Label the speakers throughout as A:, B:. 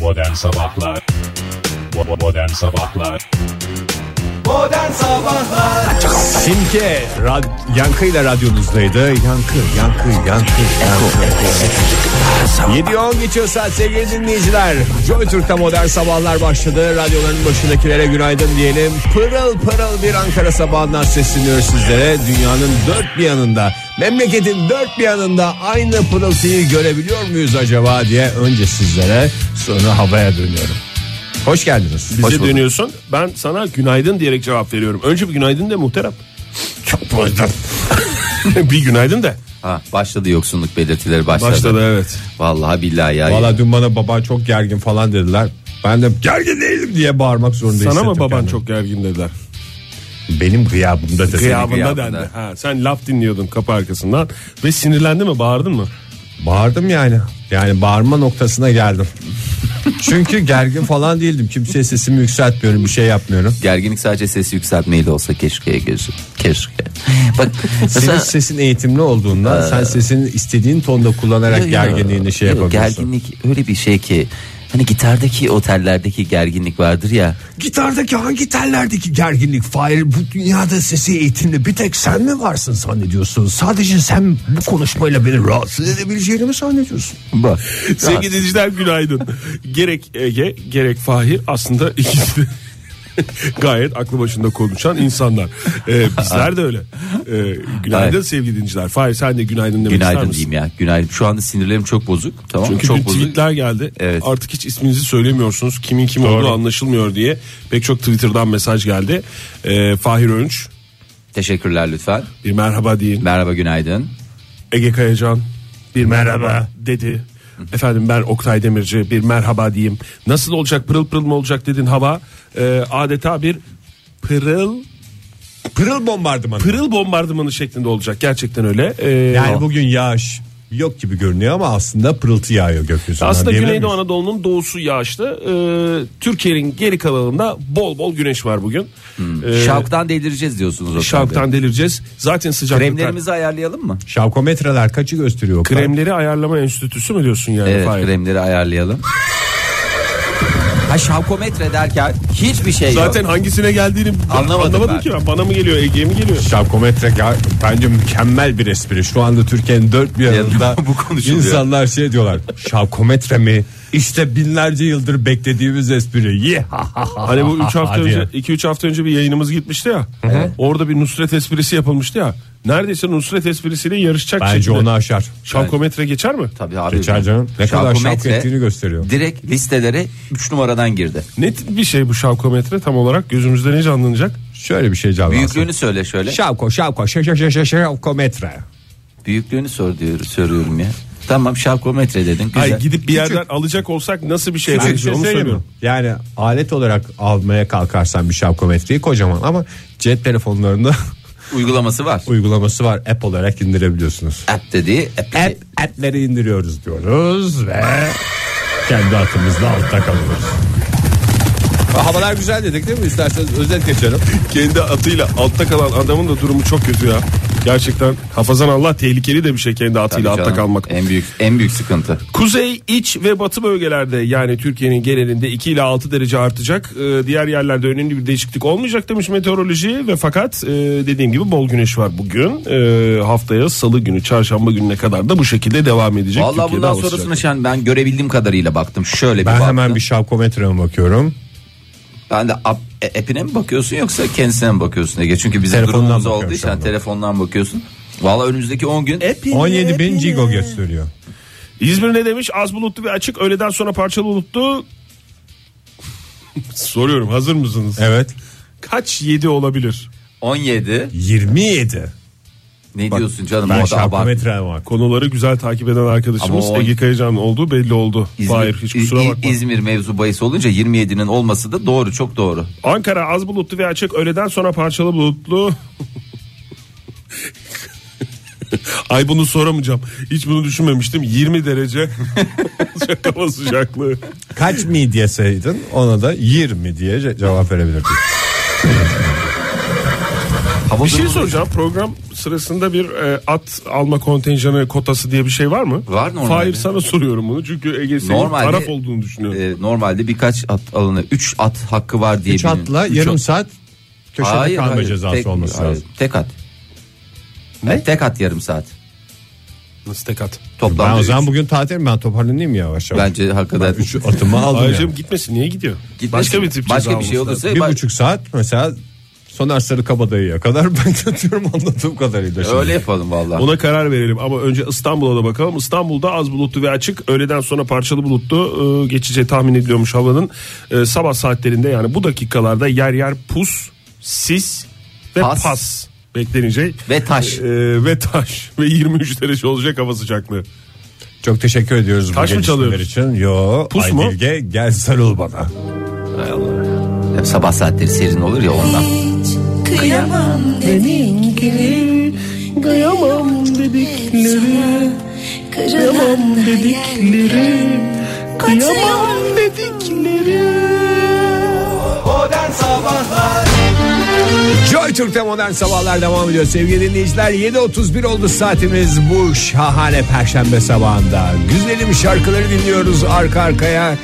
A: Modern Sabahlar Bo- Modern Sabahlar
B: Modern Sabahlar
C: Simge rad, yankıyla radyonuzdaydı. Yankı, yankı, yankı, yankı. 7 10 geçiyor saat sevgili dinleyiciler. Joy Türk'te modern sabahlar başladı. Radyoların başındakilere günaydın diyelim. Pırıl pırıl bir Ankara sabahından sesleniyoruz sizlere. Dünyanın dört bir yanında, memleketin dört bir yanında aynı pırıltıyı görebiliyor muyuz acaba diye önce sizlere sonra havaya dönüyorum. Hoş geldiniz. Hoş
D: Bize
C: bulduk.
D: dönüyorsun. Ben sana günaydın diyerek cevap veriyorum. Önce bir günaydın de muhterem. Çok pardon. bir günaydın de.
B: Ha, başladı yoksunluk belirtileri başladı.
D: Başladı evet.
B: Vallahi billahi ya.
C: Valla dün bana baban çok gergin falan dediler. Ben de gergin değilim diye bağırmak zorunda
D: Sana mı
C: hissettim
D: baban
C: kendimi.
D: çok gergin dediler?
C: Benim gıyabımda dedi.
D: Gıyabında
B: gıyabında.
D: dendi. Ha, sen laf dinliyordun kapı arkasından ve sinirlendi mi bağırdın mı?
C: Bağırdım yani. Yani bağırma noktasına geldim. Çünkü gergin falan değildim. Kimseye sesimi yükseltmiyorum, bir şey yapmıyorum.
B: Gerginlik sadece sesi yükseltmeyle olsa keşke keşke. keşke. Bak
C: Senin
B: mesela
C: sesin eğitimli olduğundan sen sesini istediğin tonda kullanarak gerginliğini şey
B: Yok,
C: yapabiliyorsun.
B: Gerginlik öyle bir şey ki hani gitardaki otellerdeki gerginlik vardır ya.
C: Gitardaki hangi tellerdeki gerginlik Fahir bu dünyada sesi eğitimli bir tek sen mi varsın zannediyorsun? Sadece sen bu konuşmayla beni rahatsız edebileceğini mi zannediyorsun?
B: Bak.
D: Sevgili dinleyiciler günaydın. gerek Ege gerek Fahir aslında ikisi de gayet aklı başında konuşan insanlar. Ee, bizler de öyle. Ee, günaydın
B: Hayır.
D: sevgili dinleyiciler. Fahir sen de günaydın demek ister
B: Günaydın
D: misin?
B: diyeyim ya. Günaydın. Şu anda sinirlerim çok bozuk. Tamam mı?
D: Çünkü
B: çok
D: dün
B: bozuk.
D: tweetler geldi.
B: Evet.
D: Artık hiç isminizi söylemiyorsunuz. Kimin kim olduğu anlaşılmıyor diye pek çok Twitter'dan mesaj geldi. Ee, Fahir Önç
B: Teşekkürler lütfen.
D: bir merhaba deyin.
B: Merhaba günaydın.
D: Ege Kayacan bir merhaba dedi. Efendim ben Oktay Demirci bir merhaba diyeyim. Nasıl olacak pırıl pırıl mı olacak dedin hava. Ee, adeta bir pırıl
C: Pırıl bombardımanı.
D: pırıl bombardımanı şeklinde olacak. Gerçekten öyle. Ee,
C: Yani bugün yağış yok gibi görünüyor ama aslında pırıltı yağıyor gökyüzünden.
D: Aslında
C: diyebilir
D: Güneydoğu
C: miyiz?
D: Anadolu'nun doğusu yağışlı. Ee, Türkiye'nin geri kalanında bol bol güneş var bugün.
B: Hmm.
D: Ee,
B: Şavktan delireceğiz diyorsunuz. o zaman.
D: Şavktan delireceğiz. Zaten sıcaklıklar.
B: Kremlerimizi ayarlayalım mı?
C: Şavkometreler kaçı gösteriyor? Oktay?
D: Kremleri ayarlama enstitüsü mü diyorsun yani?
B: Evet
D: Fahir?
B: kremleri ayarlayalım. Ha şavkometre derken hiçbir şey
D: Zaten
B: yok.
D: hangisine geldiğini
B: Anlamadım
D: anlamadım,
B: ben.
D: ki ben. Bana mı geliyor Ege'ye mi geliyor?
C: Şavkometre ga- bence mükemmel bir espri. Şu anda Türkiye'nin dört bir yanında
B: Bu konuşuluyor.
C: insanlar şey diyorlar. Şavkometre mi? İşte binlerce yıldır beklediğimiz espri. Ye ha ha ha
D: Hani bu 3 hafta
C: ha diye.
D: önce 2 3 hafta önce bir yayınımız gitmişti ya. Orada bir Nusret esprisi yapılmıştı ya. Neredeyse Nusret esprisiyle yarışacak
C: Bence
D: şekilde.
C: onu aşar.
D: Şavkometre geçer mi?
B: Tabii abi.
C: Geçer canım. Ne kadar şavk
B: Şavkometre
C: ettiğini gösteriyor.
B: Direkt listelere 3 numaradan girdi.
D: Ne tip bir şey bu şavkometre tam olarak gözümüzde ne canlanacak?
C: Şöyle bir şey canlansın.
B: Büyüklüğünü söyle şöyle.
C: Şavko şavko şa- şa- şa- şa- şavkometre.
B: Büyüklüğünü sor diyor, soruyorum ya. Tamam şavkometre dedin güzel.
D: Ay gidip bir yerden alacak olsak nasıl bir şey
C: Ben bir
D: benziyor
C: şey
D: onu
C: söyleyeyim mi?
D: söylüyorum.
C: Yani alet olarak almaya kalkarsan bir şapkometreyi kocaman ama cep telefonlarında
B: Uygulaması var.
C: uygulaması var. App olarak indirebiliyorsunuz.
B: App dediği app.
C: App, app'leri indiriyoruz diyoruz ve kendi aklımızda altta kalıyoruz. Havalar güzel dedik değil mi? İsterseniz özet geçelim.
D: Kendi atıyla altta kalan adamın da durumu çok kötü ya. Gerçekten hafazan Allah tehlikeli de bir şey kendi
B: Tabii
D: atıyla altta
B: canım,
D: kalmak.
B: En büyük en büyük sıkıntı.
D: Kuzey, iç ve batı bölgelerde yani Türkiye'nin genelinde 2 ile 6 derece artacak. Ee, diğer yerlerde önemli bir değişiklik olmayacak demiş meteoroloji ve fakat e, dediğim gibi bol güneş var bugün. Ee, haftaya salı günü, çarşamba gününe kadar da bu şekilde devam edecek.
B: Vallahi
D: Türkiye'de
B: bundan
D: hava
B: sonrasını
D: sıcaklığı.
B: şu an ben görebildiğim kadarıyla baktım. Şöyle bir
C: Ben
B: baktım.
C: hemen bir şapkometreme bakıyorum.
B: Ben de app, e- app'ine mi bakıyorsun yoksa kendisine mi bakıyorsun Ege? Çünkü bizim
C: Telefondan
B: durumumuz
C: bakıyorum
B: olduğu
C: şu
B: için
C: anda.
B: telefondan bakıyorsun. Valla önümüzdeki 10 gün
C: 17 bin gigo gösteriyor.
D: İzmir ne demiş? Az bulutlu ve açık. Öğleden sonra parçalı bulutlu. Soruyorum hazır mısınız?
C: Evet.
D: Kaç 7 olabilir?
B: 17
C: 27.
B: ne diyorsun canım
C: Ben
B: o da abart.
C: şapkometreme bak.
D: Konuları güzel takip eden arkadaşımız
B: Ama o-
D: Ege Kayacan olduğu belli oldu. Hayır hiç kusura
B: İ- İ-
D: bakma.
B: İzmir mevzu bahis olunca 27'nin olması da doğru çok doğru.
D: Ankara az bulutlu ve açık öğleden sonra parçalı bulutlu. Ay bunu soramayacağım. Hiç bunu düşünmemiştim. 20 derece olacak hava sıcaklığı.
C: Kaç mi diyeseydin ona da 20 diye ce- cevap verebilirdik.
B: Hava
D: Bir şey
B: durumu-
D: soracağım. Program sırasında bir e, at alma kontenjanı kotası diye bir şey var mı?
B: Var normalde.
D: Fahir sana soruyorum bunu çünkü Ege senin
B: Normalde-
D: taraf olduğunu düşünüyorum.
B: Ee, normalde birkaç at alını 3 at hakkı var diye.
C: Üç atla
B: bilin- üç
C: yarım
B: at-
C: saat köşede
B: Hayır,
C: kalma
B: hayır.
C: cezası
B: Tek-
C: olması
B: hayır,
C: lazım.
B: Tek at. Evet, tek at yarım saat.
D: Nasıl tek at?
B: Toplamda
C: Ben o
B: üç.
C: zaman bugün tatilim ben toparlanayım yavaş yavaş.
B: Bence hakikaten
C: Üç atımı aldım
D: Ayrıca
C: yani.
D: gitmesin niye gidiyor?
B: Gitmesin.
D: Başka bir tip ceza
B: başka bir şey
D: olması lazım.
B: olursa
C: Bir
B: ba-
C: buçuk saat mesela Soner Sarı Kabadayı'ya kadar bekletiyorum anladığım kadarıyla. Şimdi.
B: öyle yapalım vallahi.
D: Ona karar verelim ama önce İstanbul'a da bakalım. İstanbul'da az bulutlu ve açık. Öğleden sonra parçalı bulutlu e, geçeceği tahmin ediliyormuş havanın. E, sabah saatlerinde yani bu dakikalarda yer yer pus, sis ve
B: Pas.
D: pas, beklenecek.
B: Ve taş.
D: E, ve taş. Ve 23 derece olacak hava sıcaklığı.
C: Çok teşekkür ediyoruz bu
D: Taş mı
C: gelişmeler
D: çalıyoruz?
C: için. Yo,
D: Pus
C: Ay
D: mu?
C: Bilge, gel sarıl bana.
B: Hay Allah. Hep sabah saatleri serin olur ya ondan.
E: hiç kıyamam dedikleri Kıyamam dedikleri Kıyamam dedikleri Kıyamam
C: Joy Türk'te modern sabahlar devam ediyor sevgili dinleyiciler. 7.31 oldu saatimiz bu şahane perşembe sabahında. Güzelim şarkıları dinliyoruz arka arkaya.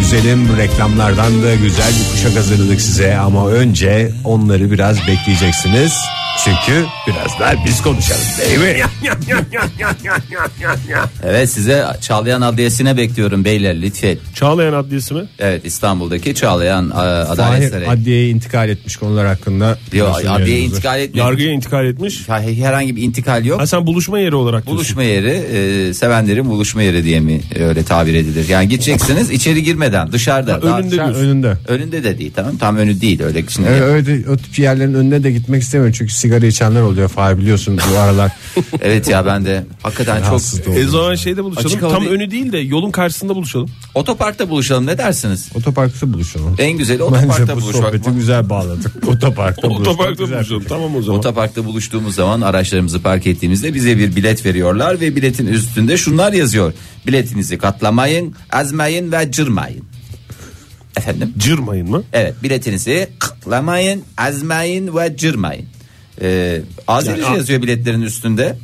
C: Güzelim reklamlardan da güzel bir kuşak hazırladık size ama önce onları biraz bekleyeceksiniz. Çünkü birazdan biz konuşalım değil mi?
B: Evet size Çağlayan Adliyesi'ne bekliyorum beyler lütfen.
D: Çağlayan Adliyesi mi?
B: Evet İstanbul'daki Çağlayan e, Adalet
C: Fahir
B: Sarayı.
C: adliyeye intikal etmiş konular hakkında.
B: Yok
C: birazdan
B: adliye
C: yayınımız var.
B: intikal etmiyor.
D: Yargıya intikal etmiş.
B: Ha- Herhangi bir intikal yok.
D: Ha sen buluşma yeri olarak diyorsun.
B: Buluşma yeri e, sevenlerin buluşma yeri diye mi öyle tabir edilir? Yani gideceksiniz içeri girmeden dışarıda. Daha-
D: önünde
C: Sen
D: diyorsun.
C: önünde.
B: Önünde de değil tamam tam önü değil öyle şimdi.
C: Evet, öyle o tip yerlerin önüne de gitmek istemiyorum çünkü sigara içenler oluyor Fahir biliyorsun bu aralar.
B: Evet ya ben de hakikaten çok
C: Rahatsız da oldum.
D: E zaman şeyde buluşalım.
B: Açık hava
D: Tam
B: değil.
D: önü değil de yolun karşısında buluşalım.
B: otoparkta buluşalım ne dersiniz?
C: Otoparkta buluşalım.
B: En güzeli
C: Bence
B: otoparkta
C: bu
B: buluşmak.
C: sohbeti güzel bağladık. Otoparkta buluşmak.
D: Otoparkta
C: güzel.
D: buluşalım. Tamam o zaman.
B: Otoparkta buluştuğumuz zaman araçlarımızı park ettiğimizde bize bir bilet veriyorlar ve biletin üstünde şunlar yazıyor. Biletinizi katlamayın, azmayın ve cırmayın. Efendim?
D: Cırmayın mı?
B: Evet biletinizi kıtlamayın, azmayın ve cırmayın. Ee, Azerice
D: Yani-
B: yazıyor biletlerin üstünde.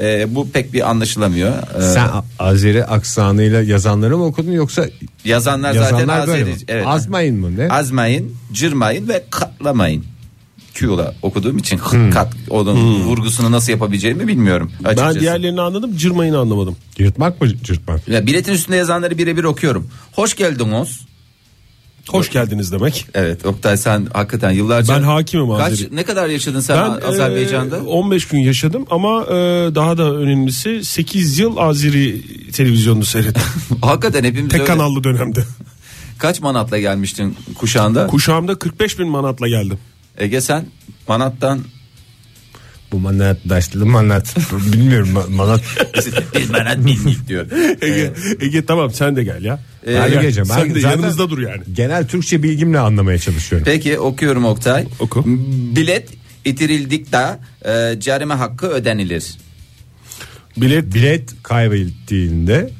B: Ee, bu pek bir anlaşılamıyor. Ee,
C: Sen A- Azeri aksanıyla yazanları mı okudun yoksa
B: yazanlar, zaten
C: yazanlar böyle mi?
B: Azerice. Evet.
C: Azmayın mı ne?
B: azmayın, cırmayın ve katlamayın. Q'la okuduğum için hık, kat onun vurgusunu nasıl yapabileceğimi bilmiyorum açıkçası.
D: Hmm. Ben diğerlerini anladım, cırmayını anlamadım.
C: Yırtmak mı cırtmak?
B: Ya biletin üstünde yazanları birebir okuyorum. Hoş geldiniz.
D: Hoş geldiniz demek.
B: Evet Oktay sen hakikaten yıllarca...
D: Ben hakimim
B: Kaç,
D: Azeri.
B: ne kadar yaşadın sen
D: Ben
B: Azerbaycan'da?
D: e, 15 gün yaşadım ama e, daha da önemlisi 8 yıl Azeri televizyonunu seyrettim.
B: Hakikaten hepimiz
D: Tek
B: öyle-
D: kanallı dönemde.
B: Kaç manatla gelmiştin kuşağında?
D: Kuşağımda 45 bin manatla geldim.
B: Ege sen manattan
C: Bu manat daşlı manat. Bilmiyorum ma- manat.
B: biz manat bildik diyor.
D: Ege, Ege tamam sen de gel ya.
B: Ee,
D: Gel, gel.
C: Ege'ciğim, ben
D: sen de
C: zaten-
D: yanımızda dur yani.
C: Genel Türkçe bilgimle anlamaya çalışıyorum.
B: Peki okuyorum Oktay.
D: Oku.
B: Bilet itirildik de e, carime hakkı ödenilir.
C: Bilet bilet kaybettiğinde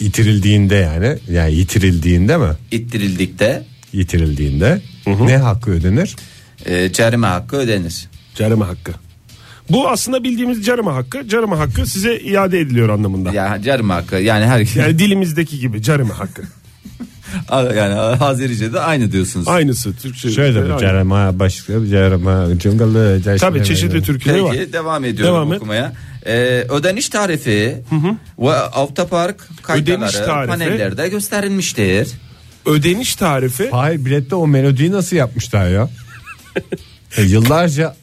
C: itirildiğinde yani yani yitirildiğinde mi?
B: İttirildik de
C: Yitirildiğinde ne hakkı ödenir?
D: Şey,
B: e, carime hakkı ödenir.
D: Carime hakkı. Bu aslında bildiğimiz carime hakkı. Carime hakkı size iade ediliyor anlamında.
B: Ya carime hakkı yani her
D: Yani dilimizdeki gibi carime hakkı.
B: yani Azerice'de aynı diyorsunuz.
D: Aynısı Türkçe.
C: Şöyle de
D: şey Aynı.
C: bu cerema başlıklı cerema cıngalı.
D: Tabii çeşitli türküleri var.
B: Peki devam ediyorum
D: Devam et.
B: okumaya. E, ödeniş tarifi ve avtopark
D: Ödeniş
B: kaydaları
D: tarifi.
B: panellerde gösterilmiştir.
D: Ödeniş tarifi
C: Hayır bilette o melodiyi nasıl yapmışlar ya? E, yıllarca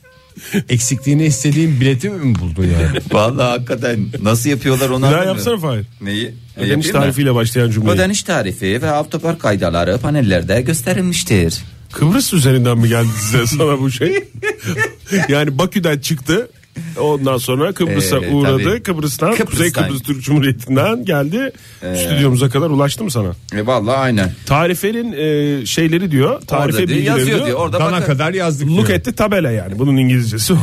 C: eksikliğini istediğin bileti mi buldun yani?
B: Vallahi hakikaten nasıl yapıyorlar onu
D: daha
B: anlamıyorum.
D: yapsana Fahir.
B: Neyi?
D: Ödeniş
B: E, Yapayım mı?
D: tarifiyle başlayan cümleyi.
B: Ödeniş tarifi ve avtopark kaydaları panellerde gösterilmiştir.
D: Kıbrıs üzerinden mi geldi size sana bu şey? yani Bakü'den çıktı. Ondan sonra Kıbrıs'a
B: Ee,
D: uğradı.
B: tabii.
D: Kıbrıs'tan, Kuzey
B: Kıbrıs'tan. Ee.
D: Kıbrıs Türk Cumhuriyeti'nden geldi. Stüdyomuza kadar ulaştı mı sana?
B: E vallahi aynen.
D: Tarifenin e, şeyleri diyor. Tarife
B: Orada diyor,
D: bilgileri
B: yazıyor
D: diyor.
B: diyor. Orada
C: Dana
B: bakar.
C: kadar yazdık.
D: Look
C: diyor.
D: at the tabela yani. Bunun İngilizcesi o.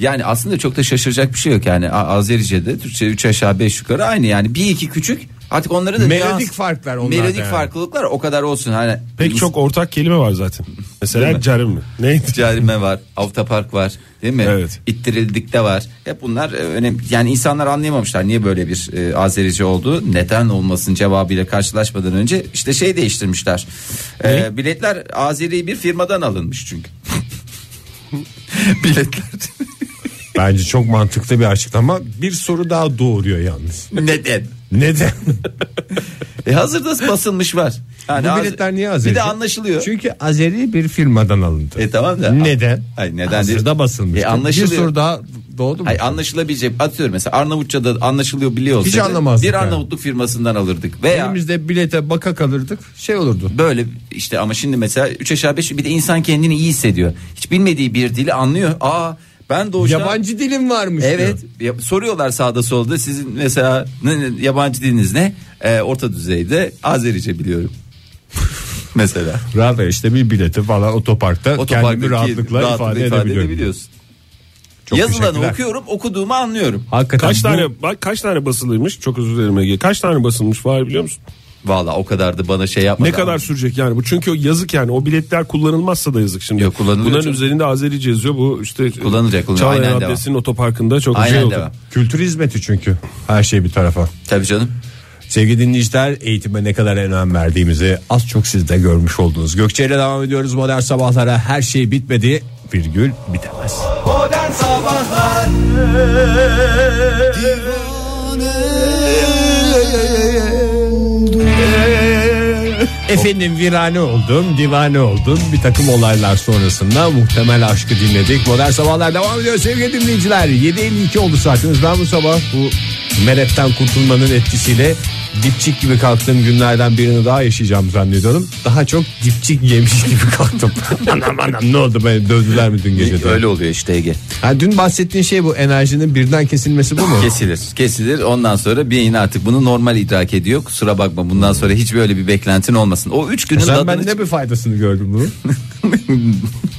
B: Yani aslında çok da şaşıracak bir şey yok yani A- Azerice'de Türkçe 3 aşağı 5 yukarı aynı yani bir iki küçük artık onları da
C: Melodik
B: nüans-
C: farklar onlar
B: Melodik
C: yani.
B: farklılıklar o kadar olsun hani
D: Pek çok ortak kelime var zaten. Mesela
B: Değil mi?
D: Carim mi? Neydi?
B: Carime var, avtopark var değil mi?
D: Evet.
B: İttirildik de var. Hep bunlar e, önemli. Yani insanlar anlayamamışlar niye böyle bir e, Azerice oldu. Neden olmasın cevabıyla karşılaşmadan önce işte şey değiştirmişler. E, biletler Azeri bir firmadan alınmış çünkü. biletler
C: Bence çok mantıklı bir açıklama. Bir soru daha doğuruyor yalnız.
B: neden?
C: Neden?
B: E hazırda basılmış var. Yani
C: Bu
B: az-
C: biletler niye Azeri?
B: Bir de anlaşılıyor.
C: Çünkü Azeri bir firmadan alındı.
B: E tamam da.
C: neden?
B: Ay neden
C: Hazırda
B: değil?
C: basılmış.
B: E,
C: bir
B: anlaşılıyor.
C: soru daha doğdu mu?
B: Hayır E, anlaşılabilecek atıyorum mesela Arnavutça'da anlaşılıyor biliyor
C: Hiç
B: olsaydı
C: anlamazdık
B: bir
C: yani.
B: Arnavutluk firmasından alırdık veya
C: Elimizde bilete baka kalırdık şey olurdu.
B: böyle işte ama şimdi mesela 3 aşağı 5 bir de insan kendini iyi hissediyor. Hiç bilmediği bir dili anlıyor. Aa ben doğuştan
C: Yabancı dilim varmış
B: Evet
C: diyor.
B: Ya- soruyorlar sağda solda sizin mesela ne- ne- yabancı diliniz ne? Ee, orta düzeyde Azerice biliyorum. mesela.
C: Rahat işte bir bileti falan otoparkta, kendimi
B: Otoparktaki
C: rahatlıkla, ifade, edebiliyorum.
B: edebiliyorsun.
C: Çok
B: Yazılanı
C: teşekkürler.
B: okuyorum okuduğumu anlıyorum.
C: Hakikaten
D: Kaç
C: bu-
D: tane bak kaç tane basılıymış? Çok özür dilerim Ege. Kaç tane basılmış var biliyor musun?
B: Valla o kadar da bana şey yapmadı.
D: Ne kadar sürecek yani bu? Çünkü o yazık yani o biletler kullanılmazsa da yazık şimdi.
B: Yok, kullanılıyor
D: Bunların
B: canım.
D: üzerinde Azerice yazıyor. Bu işte
B: Kullanılacak, kullanılacak.
D: Çağlayan
B: Aynen devam.
D: Adliyesi'nin otoparkında çok
B: Aynen
D: şey oldu.
B: devam.
C: Kültür hizmeti çünkü her şey bir tarafa.
B: Tabii canım.
C: Sevgili dinleyiciler eğitime ne kadar önem verdiğimizi az çok siz de görmüş oldunuz. Gökçe ile devam ediyoruz modern sabahlara her şey bitmedi virgül bitemez. Efendim virane oldum, divane oldum. Bir takım olaylar sonrasında muhtemel aşkı dinledik. Modern Sabahlar devam ediyor sevgili dinleyiciler. 7.52 oldu saatimiz. Ben bu sabah bu meretten kurtulmanın etkisiyle dipçik gibi kalktığım günlerden birini daha yaşayacağım zannediyordum. Daha çok dipçik yemiş gibi kalktım. anam anam ne oldu beni dövdüler mi dün gece? diye.
B: Öyle oluyor işte Ege.
C: Ha, dün bahsettiğin şey bu enerjinin birden kesilmesi bu mu?
B: Kesilir. Kesilir. Ondan sonra beyin artık bunu normal idrak ediyor. Kusura bakma bundan sonra hiç böyle bir beklentin olmasın. O üç
D: E
B: günün
C: Sen
B: tadını
C: ben ne bir faydasını gördüm bunun?
B: çık-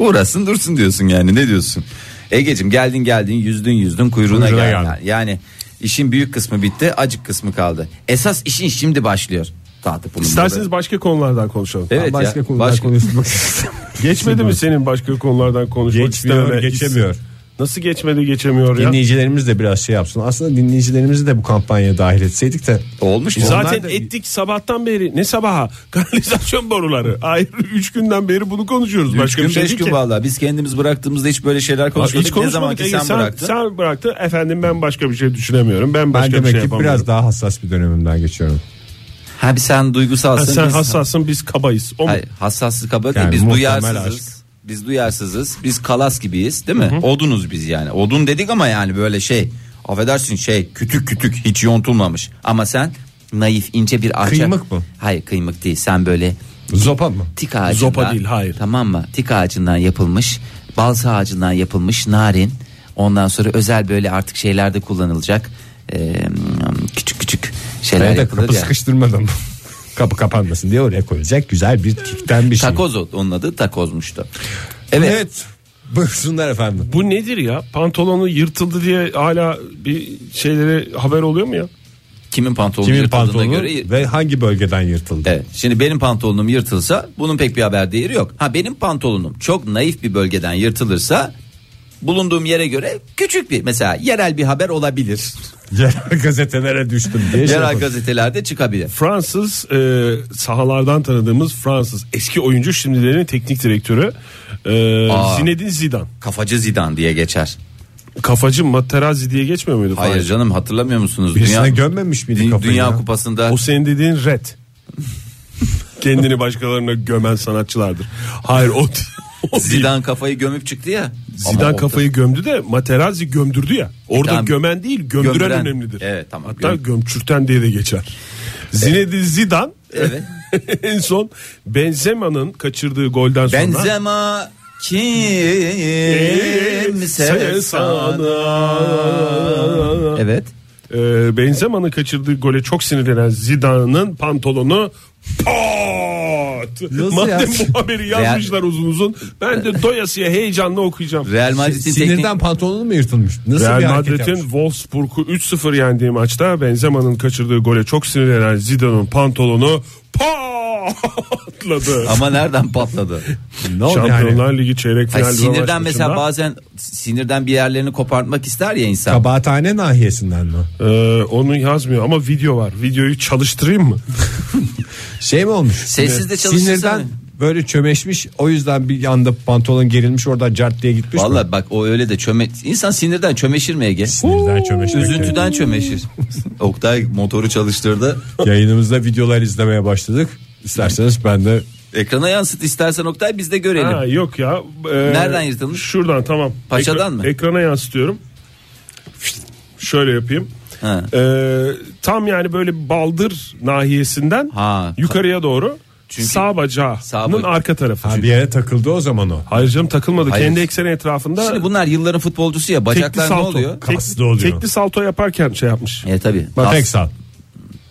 B: uğraşsın dursun diyorsun yani. Ne diyorsun? Egecim geldin geldin yüzdün yüzdün kuyruğuna,
C: Kuyruğuna
B: geldin.
C: geldin.
B: Yani işin büyük kısmı bitti acık kısmı kaldı. Esas işin şimdi başlıyor. Dağıtıp bunu
D: İsterseniz başka konulardan konuşalım.
B: Evet
C: Ben başka
B: ya,
C: konular
B: başka-
C: konuşmak istiyorum.
D: Geçmedi mi senin başka konulardan konuşmak
C: Geçmiyor,
D: istememe?
C: geçemiyor.
D: Nasıl geçmedi geçemiyor ya?
C: Dinleyicilerimiz de biraz şey yapsın. Aslında dinleyicilerimizi de bu kampanyaya dahil etseydik de.
B: olmuş. mu?
D: Zaten
C: Onlar da-
D: ettik sabahtan beri. Ne sabaha? Kanalizasyon boruları. Hayır 3 günden beri bunu konuşuyoruz.
B: Üç
D: Başka
B: gün
D: bir şey
B: beş
D: değil
B: gün
D: ki.
B: valla biz kendimiz bıraktığımızda hiç böyle şeyler konuşmadık.
D: Hiç
B: ne
D: konuşmadık.
B: zaman ki
D: Ege,
B: sen, bıraktın.
D: Sen bıraktın. Efendim ben başka bir şey düşünemiyorum. Ben başka
C: ben
D: bir
C: demek
D: şey
C: ki
D: yapamıyorum.
C: biraz daha hassas bir dönemimden geçiyorum.
B: Ha bir sen
D: Ha,
B: duygusalsın.
D: sen
B: biz-
D: hassassın biz kabayız. O mu?
B: Hayır, hassassız kabak değil.
C: Yani
B: Biz
C: muhtemel
B: duyarsızız. Biz duyarsızız. Biz kalas gibiyiz değil mi? Odunuz biz yani. Odun dedik ama yani böyle şey. Affedersin şey kütük kütük hiç yontulmamış. Ama sen naif ince bir ağaç.
C: Kıymık mı?
B: Hayır kıymık değil. Sen böyle
C: Zopa mı?
B: tik ağacından.
D: Zopa değil, hayır.
B: Tamam mı? Tik ağacından yapılmış. Balsa ağacından yapılmış narin. Ondan sonra özel böyle artık şeylerde kullanılacak. Ee, küçük küçük şeyler
C: Ben de
B: yapılır
C: kapı
B: ya.
C: sıkıştırmadım. kapı kapanmasın diye oraya koyacak güzel bir tikten bir şey.
B: Takoz o- onun adı takozmuştu.
C: Evet.
B: Evet.
C: Buyursunlar efendim.
D: Bu nedir ya? Pantolonu yırtıldı diye hala bir şeylere haber oluyor mu ya?
B: Kimin pantolonu
C: Kimin
B: yırtıldığına
C: pantolonu
B: göre
C: ve hangi bölgeden yırtıldı?
B: Evet. Şimdi benim pantolonum yırtılsa bunun pek bir haber değeri yok. Ha benim pantolonum çok naif bir bölgeden yırtılırsa bulunduğum yere göre küçük bir mesela yerel bir haber olabilir.
C: Yerel gazetelere düştüm diye. şey
B: yerel
C: yapalım.
B: gazetelerde çıkabilir.
D: Fransız e, sahalardan tanıdığımız Fransız eski oyuncu şimdilerin teknik direktörü e,
B: Aa.
D: Zinedine Zidane.
B: Kafacı Zidane diye geçer.
D: Kafacı mı terazi diye geçmiyor muydu?
B: Hayır
D: Fahir?
B: canım hatırlamıyor musunuz?
C: Birisine gömmemiş miydi
B: Dü-
C: kafayı
B: Dünya
C: ya?
B: Kupası'nda
D: O senin dediğin red. Kendini başkalarına gömen sanatçılardır. Hayır o, o Zidane,
B: Zidane kafayı gömüp çıktı ya. Ama
D: Zidane
B: o-
D: kafayı gömdü de Materazzi gömdürdü ya. Orada
B: tamam.
D: gömen değil gömdüren,
B: Gömdüren.
D: önemlidir.
B: Evet, tamam.
D: Hatta
B: Göm-
D: gömçürten diye de geçer. Zinedine Zidane
B: Evet.
D: en son Benzema'nın kaçırdığı golden sonra
B: Benzema kimse
D: Sen
B: sana.
D: sana.
B: Evet.
D: Ee, Benzema'nın kaçırdığı gole çok sinirlenen Zidane'ın pantolonu pat.
C: Nasıl
D: Madem
C: ya?
D: bu haberi yazmışlar uzun uzun ben de doyasıya heyecanla okuyacağım.
B: Real Madrid'in
C: Sinirden
B: teknik
C: pantolonu mu yırtılmış? Nasıl bir
D: Real
C: hareket
D: Madrid'in
C: yapmış?
D: Wolfsburg'u 3-0 yendiği maçta Benzema'nın kaçırdığı gole çok sinirlenen Zidane'ın pantolonu pat atladı.
B: Ama nereden patladı?
C: Ne oldu yani?
D: Şampiyonlar Ligi çeyrek final
B: Hayır, sinirden
D: Fenerbahçe
B: mesela
D: maçında,
B: bazen sinirden bir yerlerini kopartmak ister ya insan.
C: Kabahathane nahiyesinden mi?
D: e, onu yazmıyor ama video var. Videoyu çalıştırayım mı?
C: Şey mi olmuş?
B: Sessiz de çalışırsana.
C: Sinirden böyle çömeşmiş o yüzden bir anda pantolon gerilmiş oradan cart diye gitmiş mi?
B: Vallahi bak o öyle de çöme insan sinirden çömeşir mi Ege?
C: Sinirden çömeşmek
B: Üzüntüden çömeşir. Oktay motoru çalıştırdı.
C: Yayınımızda videolar izlemeye başladık. İsterseniz ben de
B: Ekrana yansıt istersen Oktay biz de görelim.
D: Ha, yok ya. E,
B: Nereden yırtılmış?
D: Şuradan tamam.
B: Paçadan
D: Ekra-
B: mı?
D: Ekrana yansıtıyorum. Şöyle yapayım.
B: Ha.
D: E, tam yani böyle baldır nahiyesinden
B: Ha.
D: yukarıya doğru
B: Çünkü-
D: sağ bacağının
B: Sağ bacağı.
D: arka tarafı.
C: bir yere takıldı o zaman o.
D: Hayır canım takılmadı.
B: Hayır.
D: Kendi ekseni etrafında
B: Şimdi bunlar yılların futbolcusu ya
D: tekli
B: bacaklar ne
D: salto.
B: oluyor?
D: Tek-
C: Kaslı oluyor.
D: Tekli salto yaparken şey yapmış.
B: E tabi.
C: Tek sal.